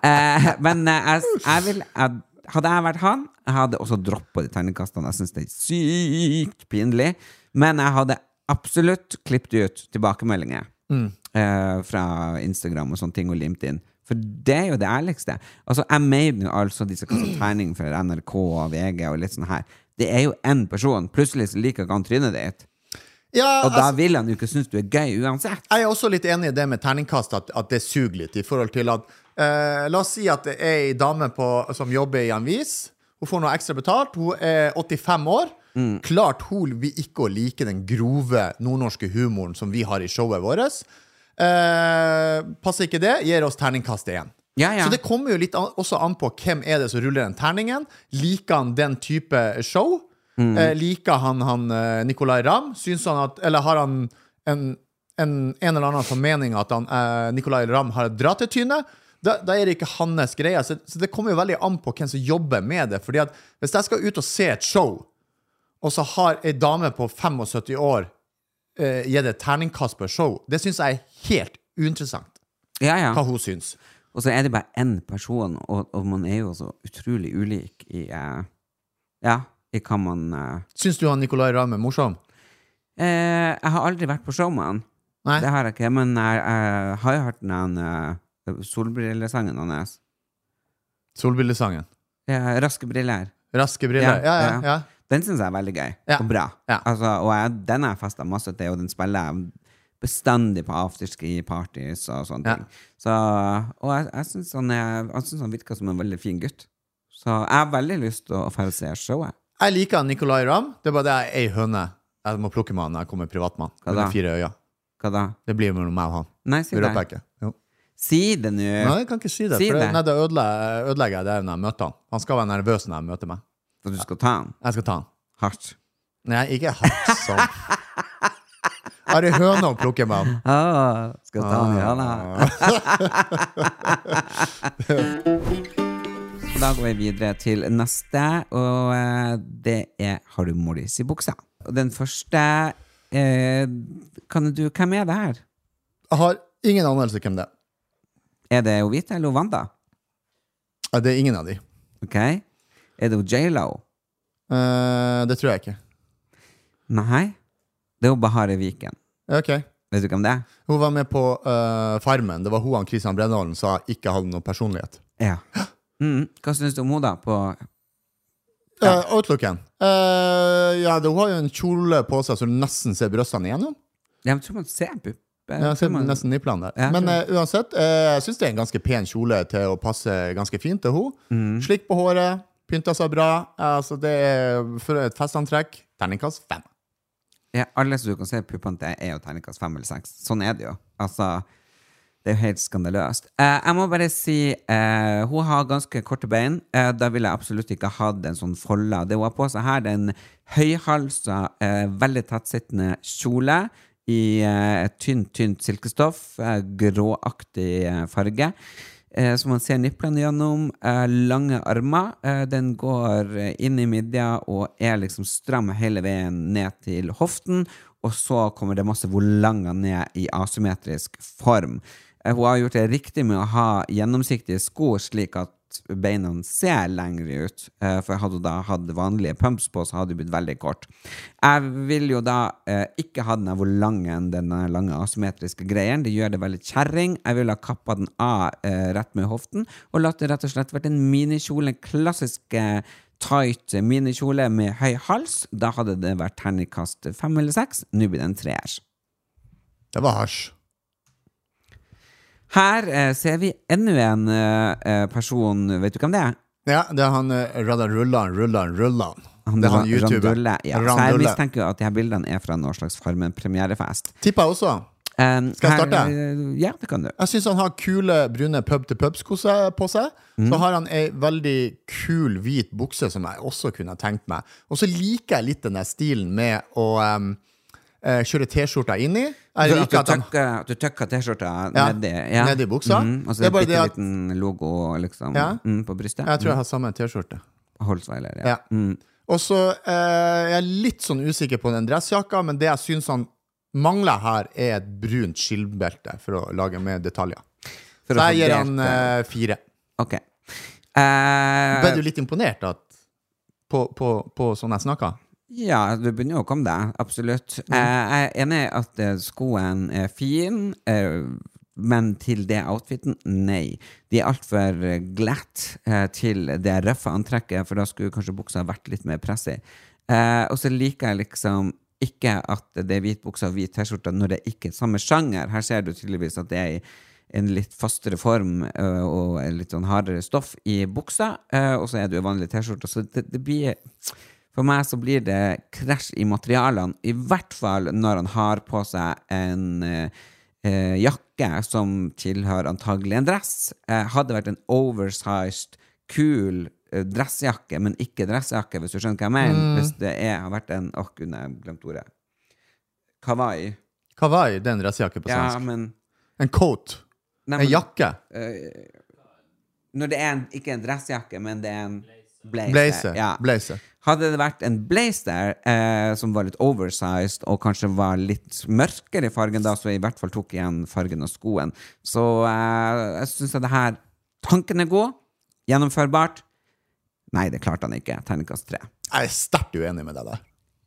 Speaker 6: Eh, men eh, jeg, jeg vil jeg, Hadde jeg vært han, jeg hadde også droppa de terningkastene. Jeg syns det er sykt pinlig. Men jeg hadde absolutt klippet ut tilbakemeldinger eh, fra Instagram og sånne ting og limt inn. For det er jo det ærligste. Altså, jeg mener jo altså disse kaster terning for NRK og VG og litt sånn her. Det er jo én person. Plutselig så liker ikke han trynet ditt.
Speaker 7: Ja,
Speaker 6: Og da
Speaker 7: altså,
Speaker 6: vil han jo ikke synes du er gøy uansett.
Speaker 7: jeg er også litt enig i det med terningkast, at, at det suger litt. I forhold til at eh, La oss si at det er ei dame på, som jobber i en avis. Hun får noe ekstra betalt. Hun er 85 år. Klart hun vil ikke å like den grove nordnorske humoren som vi har i showet vårt. Eh, passer ikke det, gir oss terningkast igjen.
Speaker 6: Ja, ja.
Speaker 7: Så det kommer jo litt an, også an på hvem er det som ruller den terningen. Liker han den type show?
Speaker 6: Mm.
Speaker 7: Eh, liker han, han eh, Nicolay Ramm? Syns han at Eller har han en, en, en eller annen formening at han, eh, Nicolay Ramm har et dratetyne? Da, da er det ikke hans greie. Så, så det kommer jo veldig an på hvem som jobber med det. Fordi at hvis jeg skal ut og se et show, og så har ei dame på 75 år eh, gitt et terningkast på et show, det syns jeg er helt uinteressant
Speaker 6: Ja, ja.
Speaker 7: hva hun syns.
Speaker 6: Og så er det bare én person, og, og man er jo så utrolig ulik i eh, Ja, i hva man eh,
Speaker 7: Syns du han Nicolay Ramm er morsom?
Speaker 6: Eh, jeg har aldri vært på showman.
Speaker 7: Nei.
Speaker 6: Det har jeg ikke, men jeg, jeg har jo hørt den her, eh, solbrillesangen hans.
Speaker 7: Solbildesangen.
Speaker 6: Ja, Raske briller.
Speaker 7: Raske briller. Ja, ja, ja.
Speaker 6: Den syns jeg er veldig gøy
Speaker 7: Ja.
Speaker 6: og bra.
Speaker 7: Ja.
Speaker 6: Altså, og jeg, den har jeg festa masse til, og den spiller jeg bestandig på afterski-parties og sånne
Speaker 7: Ja.
Speaker 6: ting. Så, og jeg, jeg syns han, er- jeg synes han virker som en veldig fin gutt. Så jeg har veldig lyst til å dra og se showet.
Speaker 7: Jeg liker han Nicolay Ramm. Det er bare det jeg er ei høne. Jeg må plukke med han når jeg kommer privatmann.
Speaker 6: Hva
Speaker 7: Med
Speaker 6: da?
Speaker 7: de fire øya.
Speaker 6: Hva da?
Speaker 7: Det blir mellom meg og han.
Speaker 6: Nei, si
Speaker 7: Det røper
Speaker 6: det.
Speaker 7: jeg ikke. Jo.
Speaker 6: Si det nå!
Speaker 7: Nei, jeg kan ikke si det.
Speaker 6: Si
Speaker 7: For det.
Speaker 6: det.
Speaker 7: Nei, da ødelegger, ødelegger jeg det når jeg møter han. Han skal være nervøs når jeg møter meg.
Speaker 6: For du skal ta han
Speaker 7: Jeg skal ta han.
Speaker 6: hardt.
Speaker 7: Nei, ikke hardt sånn. Jeg har ei høne å plukke med han.
Speaker 6: Ah, skal ta han, ja da. Da går vi videre til neste, og eh, det er Har du Morris i buksa? Og den første eh, Kan du Hvem er det her?
Speaker 7: Jeg har ingen anelse hvem det er.
Speaker 6: Er det jo Vita eller jo Wanda?
Speaker 7: Ja, Det er ingen av de.
Speaker 6: Ok? Er det jo J.Lo?
Speaker 7: Eh, det tror jeg ikke.
Speaker 6: Nei. Det er jo Bahare Viken.
Speaker 7: Ok.
Speaker 6: Vet du hvem det er?
Speaker 7: Hun var med på eh, Farmen. Det var hun han Christian Brennholm sa ikke hadde noe personlighet.
Speaker 6: Ja. Mm, hva syns du om henne, da? På,
Speaker 7: Eh, outlooken. Eh, ja, det, hun har jo en kjole på seg så du nesten ser brystene igjennom.
Speaker 6: jeg tror man ser pupp.
Speaker 7: Ja, ser nesten nipplene der.
Speaker 6: Ja,
Speaker 7: Men
Speaker 6: tror jeg.
Speaker 7: eh, uansett, eh, jeg syns det er en ganske pen kjole til å passe ganske fint til henne. Slikk på håret, pynta seg bra. Altså, det er for et festantrekk. Terningkast fem.
Speaker 6: Ja, alle som du kan se puppene til, er jo terningkast fem eller seks. Sånn er det jo. Altså, det er jo helt skandaløst. Eh, jeg må bare si eh, hun har ganske korte bein. Eh, da ville jeg absolutt ikke hatt en sånn folde. Det hun har på seg her, det er en høyhalsa, eh, veldig tettsittende kjole i eh, et tynt, tynt silkestoff. Eh, gråaktig eh, farge. Eh, så man ser nipplene gjennom. Eh, lange armer. Eh, den går eh, inn i midja og er liksom stram hele veien ned til hoften. Og så kommer det masse volanger ned i asymmetrisk form. Eh, hun har gjort det riktig med å ha gjennomsiktige sko, slik at beina ser lengre ut. Eh, for hadde hun da hatt vanlige pumps på, så hadde hun blitt veldig kort. Jeg vil jo da eh, ikke ha den her hvor lang en- den her lange asymmetriske greien. Det gjør det veldig kjerring. Jeg ville ha kappa den av eh, rett med hoften og latt det rett og slett vært en minikjole, en klassisk eh, tight minikjole med høy hals. Da hadde det vært terningkast fem eller seks. Nå blir det en treer.
Speaker 7: Det var hasj.
Speaker 6: Her eh, ser vi enda en eh, eh, person, vet du hvem det er?
Speaker 7: Ja, det er han eh, Radar Rullan, Rullan, Rullan. Det er han youtuberen.
Speaker 6: Randulle, ja. Så jeg
Speaker 7: Randulle.
Speaker 6: mistenker jo at de her bildene er fra noen slags Farmen-premierefest.
Speaker 7: Tipper jeg også.
Speaker 6: Um,
Speaker 7: Skal jeg
Speaker 6: her- eh,
Speaker 7: starte?
Speaker 6: Ja, det kan du.
Speaker 7: Jeg syns han har kule, brune pub-til-pub-sko se- på seg.
Speaker 6: Mm.
Speaker 7: Så har han ei veldig kul, hvit bukse som jeg også kunne ha tenkt meg. Og så liker jeg litt den der stilen med å em, eh, kjøre T-skjorta inni. Jeg
Speaker 6: At
Speaker 7: liker
Speaker 6: du
Speaker 7: at han
Speaker 6: tøkker- at du tøkker T-skjorta
Speaker 7: Ja,
Speaker 6: nedi
Speaker 7: nedi buksa.
Speaker 6: Mhm, og så
Speaker 7: Det er
Speaker 6: en
Speaker 7: bare det
Speaker 6: bitte
Speaker 7: at-
Speaker 6: liten logo liksom,
Speaker 7: Ja.
Speaker 6: mm, på brystet.
Speaker 7: Jeg tror jeg har samme T-skjorte.
Speaker 6: Holzweiler, ja. Mm.
Speaker 7: Ja. Og så eh, jeg er jeg litt sånn usikker på den dressjakka, men det jeg syns han mangler her, er et brunt skilbelte for å lage mer detaljer.
Speaker 6: For
Speaker 7: Så
Speaker 6: å få
Speaker 7: jeg gir
Speaker 6: delt
Speaker 7: han
Speaker 6: det.
Speaker 7: eh, fire.
Speaker 6: Ok. Eh,
Speaker 7: Ble du litt imponert at, på, på, på sånn jeg snakka?
Speaker 6: Ja, du begynner jo å komme deg, absolutt. Eh, jeg er enig i at eh, skoen er fin, eh, men til det outfiten, nei. De er altfor eh, glatt eh, til det røffe antrekket, for da skulle kanskje buksa vært litt mer pressig. Eh, og så liker jeg liksom ikke at det er hvit bukse og hvit T-skjorte når det ikke er samme sjanger. Her ser du tydeligvis at det er i en litt fastere form ø, og en litt sånn hardere stoff i buksa, ø, og så er det jo vanlig T-skjorte. Så det, det blir For meg så blir det krasj i materialene, i hvert fall når han har på seg en ø, ø, jakke som tilhører antagelig en dress. Eh, hadde vært en oversized, kul ø, dressjakke, men ikke dressjakke, hvis du skjønner hva jeg mener.
Speaker 7: Mm.
Speaker 6: Hvis det er, har vært en Åh, gud, nei, jeg glemte ordet. Kawaii.
Speaker 7: Kawaii, det er en dressjakke på
Speaker 6: Ja,
Speaker 7: svensk.
Speaker 6: men
Speaker 7: En coat.
Speaker 6: Nei,
Speaker 7: En
Speaker 6: men-
Speaker 7: jakke.
Speaker 6: Når det er en, ikke en dressjakke, men det er en blazer.
Speaker 7: Blazer.
Speaker 6: Ja.
Speaker 7: Blazer.
Speaker 6: Hadde det vært en blazer eh, som var litt oversized og kanskje var litt mørkere i fargen, da, så jeg i hvert fall tok igjen fargen av skoen. Så eh, jeg syns at det her Tanken er god, gjennomførbart. Nei, det klarte han ikke. Terningkast tre.
Speaker 7: Jeg er sterkt uenig med deg der.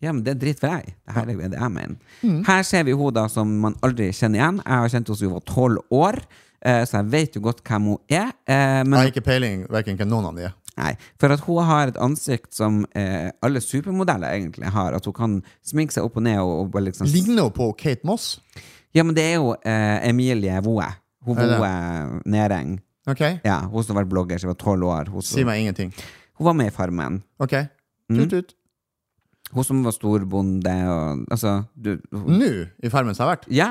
Speaker 6: Ja, men det er drit for deg. Det her er jo det jeg mener. Her ser vi henne da som man aldri kjenner igjen. Jeg har kjent henne siden hun var tolv år, eh, så jeg vet jo godt hvem hun er. eh,
Speaker 7: Jeg
Speaker 6: Men
Speaker 7: har ikke peiling hverken hvem noen av de er.
Speaker 6: Nei, for at hun har et ansikt som eh, alle supermodeller egentlig har. At hun kan sminke seg opp og ned og, og bare liksom
Speaker 7: Ligner hun på Kate Moss?
Speaker 6: Ja, men det er jo eh, Emilie Voe. Hun
Speaker 7: Er det?
Speaker 6: Voe Næreng.
Speaker 7: Ok,
Speaker 6: Ja, hun som var blogger, som var tolv år. Hun,
Speaker 7: Si
Speaker 6: som,
Speaker 7: meg ingenting.
Speaker 6: hun var med i Farmen.
Speaker 7: Ok.
Speaker 6: Mm.
Speaker 7: Tut-tut.
Speaker 6: Hun som var storbonde og Altså, du hun,
Speaker 7: Nå, i Farmen som har vært.
Speaker 6: Ja!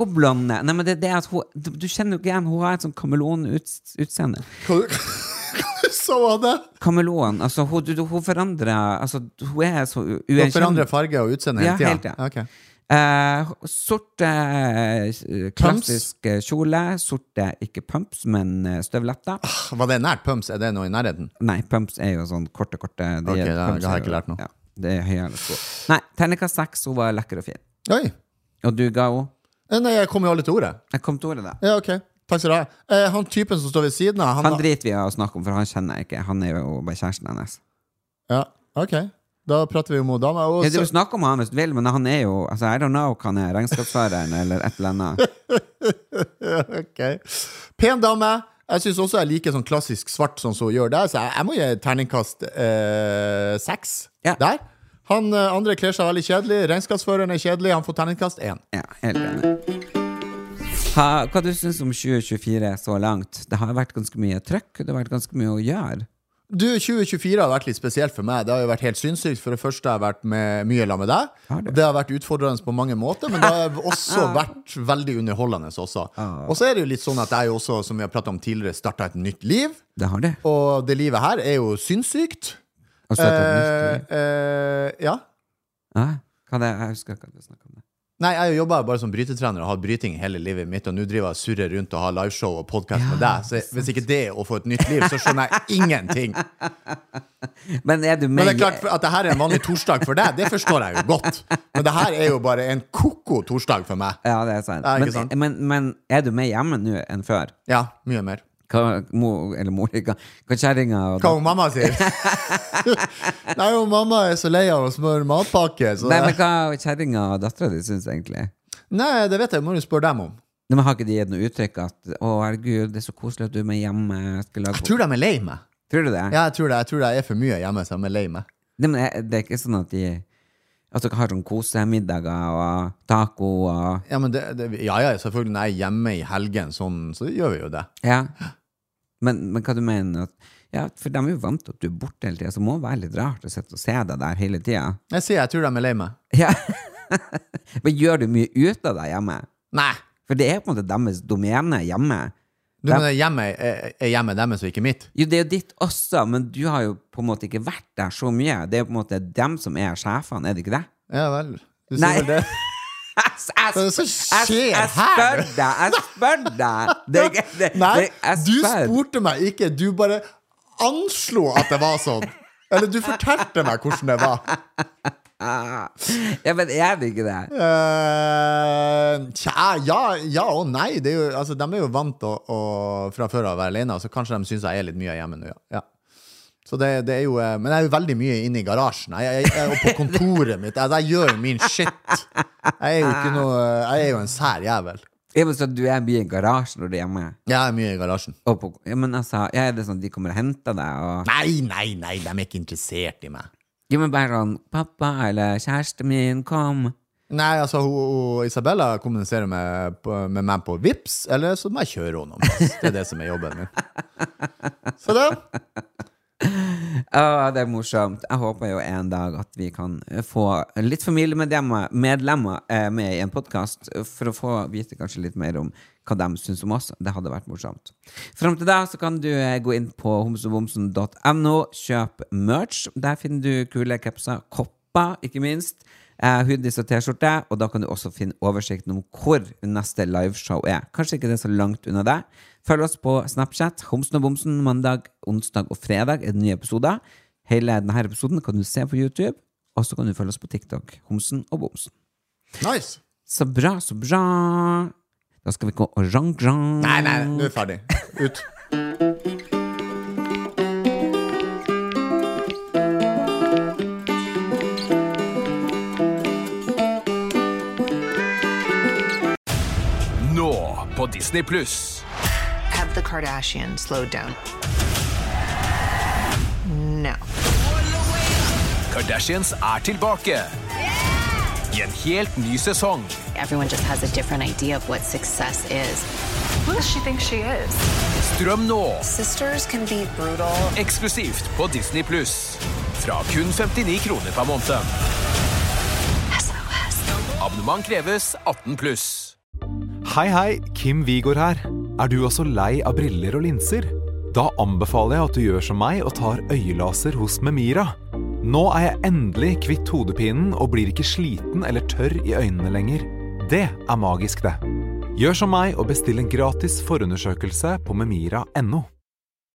Speaker 6: Hun blonde. Nei, men det, er det at hun du, du kjenner jo ikke igjen. Hun har et sånn kameleonutseende.
Speaker 7: Hva du- Så hun det?
Speaker 6: Kameleon. Altså, hun, du, hun forandrer Altså, hun er så u-
Speaker 7: Hun forandrer
Speaker 6: uerkjennelig.
Speaker 7: farge og utseende
Speaker 6: Ja,
Speaker 7: hele
Speaker 6: helt,
Speaker 7: tida?
Speaker 6: ja. Eh, sort eh, klassisk eh, kjole. Sorte, ikke pumps, men eh, støvletter.
Speaker 7: Var det nært pumps? Er det noe i nærheten?
Speaker 6: Nei, pumps er jo sånn korte, korte de
Speaker 7: Ok,
Speaker 6: er-
Speaker 7: det har-
Speaker 6: pumps
Speaker 7: det har
Speaker 6: er
Speaker 7: jeg
Speaker 6: jo-
Speaker 7: ikke lært nå.
Speaker 6: Ja, det er høyere sko. Nei, terningkast seks. Hun var lekker og fin.
Speaker 7: Oi!
Speaker 6: Og du ga henne
Speaker 7: Eh, Nei, jeg kom jo aldri til ordet.
Speaker 6: Jeg kom til ordet, da.
Speaker 7: Ja, ok. Takk skal du ha. Eh, han typen som står ved siden av, han,
Speaker 6: Han driter vi i å snakke om, for han kjenner jeg ikke. Han er jo bare kjæresten hennes.
Speaker 7: Ja, ok. Da prater vi om hun dama. Og
Speaker 6: Ja, du
Speaker 7: så,
Speaker 6: vil snakke om han hvis du vil, men han er jo altså, I don't know hva han er. Regnskapsføreren eller et eller annet.
Speaker 7: Ok. Pen dame. Jeg syns også jeg liker sånn klassisk svart, sånn som hun gjør der, så jeg, jeg må gi terningkast eh, seks
Speaker 6: Ja.
Speaker 7: der. Han eh, andre kler seg veldig kjedelig. Regnskapsføreren er kjedelig. Han får terningkast én.
Speaker 6: Ja, helt enig. Ha, hva du syns om 2024 så langt? Det har vært ganske mye trøkk, det har vært ganske mye å gjøre.
Speaker 7: Du, 2024 har vært litt spesielt for meg. Det har jo vært helt sinnssykt. For det første har jeg vært med, mye sammen med deg.
Speaker 6: Har du?
Speaker 7: det har vært utfordrende på mange måter, men det har også vært veldig underholdende også.
Speaker 6: Ah.
Speaker 7: Og så er det jo litt sånn at jeg jo også, som vi har pratet om tidligere, starta et nytt liv.
Speaker 6: Det har det.
Speaker 7: Og det livet her er jo sinnssykt.
Speaker 6: Og så et nytt liv.
Speaker 7: Eh, eh, ja.
Speaker 6: Ja, hva det, jeg husker ikke at vi snakket om det.
Speaker 7: Nei, jeg jobba bare som brytetrener og har hatt bryting hele livet mitt, og nå driver jeg og surrer rundt og har liveshow og podkast med deg. Så hvis ikke det er å få et nytt liv, så skjønner jeg ingenting.
Speaker 6: Men er du med
Speaker 7: Men det er klart at det her er en vanlig torsdag for deg, det forstår jeg jo godt. Men det her er jo bare en ko-ko torsdag for meg.
Speaker 6: Ja, det er sant.
Speaker 7: Ja, ikke
Speaker 6: men,
Speaker 7: sant?
Speaker 6: Men, men er du med hjemme nå enn før?
Speaker 7: Ja, mye mer.
Speaker 6: Hva, mo, eller mor, hva, hva kjerringa og
Speaker 7: Hva hun mamma sier? Nei, hun mamma er så lei av å smøre matpakke, så
Speaker 6: Nei, men hva kjerringa og dattera di syns egentlig?
Speaker 7: Nei, det vet jeg, må du spørre dem om.
Speaker 6: Nei, men har ikke de gitt noe uttrykk at 'Å, herregud, det er så koselig at du er med hjemme'? Jeg skal lage
Speaker 7: Jeg tror de er lei meg.
Speaker 6: Tror du det?
Speaker 7: Ja, jeg tror det. Jeg tror det er for mye hjemme, så de er lei meg.
Speaker 6: Nei, men jeg- det er ikke sånn at de At dere har sånn kosemiddager og taco og
Speaker 7: Ja, men det, det, ja, ja, selvfølgelig. Når jeg er hjemme i helgen, sånn, så gjør vi jo det.
Speaker 6: Ja. Men, men hva du mener at Ja, for de er jo vant til at du er borte hele tida, så det må være litt rart å sitte og se deg der hele tida.
Speaker 7: Jeg sier jeg tror de er lei meg.
Speaker 6: Ja. men gjør du mye ut av deg hjemme?
Speaker 7: Nei!
Speaker 6: For det er jo på en måte deres domene hjemme.
Speaker 7: Du mener hjemmet er, er hjemmet deres og ikke mitt?
Speaker 6: Jo, det er jo ditt også, men du har jo på en måte ikke vært der så mye. Det er jo på en måte dem som er sjefene, er det ikke det?
Speaker 7: Ja vel. Du sier
Speaker 6: Nei.
Speaker 7: vel det?
Speaker 6: Jeg,
Speaker 7: Hva er det som skjer
Speaker 6: jeg
Speaker 7: her?
Speaker 6: spør deg! Jeg spør deg! Det, er ikke- det,
Speaker 7: Nei,
Speaker 6: det, jeg
Speaker 7: du
Speaker 6: spør.
Speaker 7: spurte meg ikke. Du bare anslo at det var sånn. Eller du fortalte meg hvordan det var.
Speaker 6: Ja, men er det ikke det?
Speaker 7: Eh, tja, ja, ja og nei. Det er jo, altså, de er jo vant til å, å fra før av være alene, så kanskje de syns jeg er litt mye hjemme nå. Ja. Ja. Så det, det er jo, eh, men jeg er jo veldig mye inne i garasjen jeg, jeg, jeg, og på kontoret mitt. Altså, jeg gjør jo min shit. Jeg er jo, ikke noe, jeg er jo en sær jævel.
Speaker 6: Jeg må si at du er mye i garasjen når du er hjemme.
Speaker 7: Jeg er mye i garasjen.
Speaker 6: Og på, ja, men altså, ja, er det sånn at de kommer og henter deg? Og,
Speaker 7: Nei, nei, nei, de er ikke interessert i meg.
Speaker 6: jo, men bare sånn 'Pappa eller kjæresten min, kom'.
Speaker 7: Nei, altså, hun, hun, Isabella kommuniserer med, på- med meg på Vips, eller så må jeg kjøre henne. noen plass. Det er det som er jobben min. Så det.
Speaker 6: Å, det er morsomt. Jeg håper jo en dag at vi kan få litt familiemedlemmer medlemmer, eh, med i en podkast, for å få vite kanskje litt mer om hva de syns om oss. Det hadde vært morsomt. Fram til da så kan du eh, gå inn på homsebomsen.no, kjøp merch. Der finner du kule capser, kopper, ikke minst. Eh, hoodies og T-skjorte, og da kan du også finne oversikten om hvor neste liveshow er. Kanskje ikke det er så langt unna deg. Følg oss på Snapchat, Homsen og Bomsen, mandag, onsdag og fredag er det nye episoder. Hele denne episoden kan du se på YouTube, og så kan du følge oss på TikTok, Homsen og Bomsen.
Speaker 7: Nice.
Speaker 6: Så bra, så bra! Da skal vi gå orange.
Speaker 7: Nei, nei, nå er vi ferdig. Ut.
Speaker 3: Disney pluss.
Speaker 4: Have the Kardashian slowed down. No.
Speaker 3: Kardashians er tilbake. I en helt ny sesong.
Speaker 5: Everyone just has a different idea of what success is.
Speaker 4: Who does she think she is?
Speaker 3: Strøm nå,
Speaker 4: Sisters can be brutal.
Speaker 3: eksklusivt på Disney pluss. Fra kun 59 kroner per måned.
Speaker 5: SOS.
Speaker 3: Abonnement kreves 18 pluss.
Speaker 8: Hei, hei, Kim Vigor her. Er du også lei av briller og linser? Da anbefaler jeg at du gjør som meg og tar øyelaser hos Memira. Nå er jeg endelig kvitt hodepinen og blir ikke sliten eller tørr i øynene lenger. Det er magisk, det. Gjør som meg og bestill en gratis forundersøkelse på memira.no.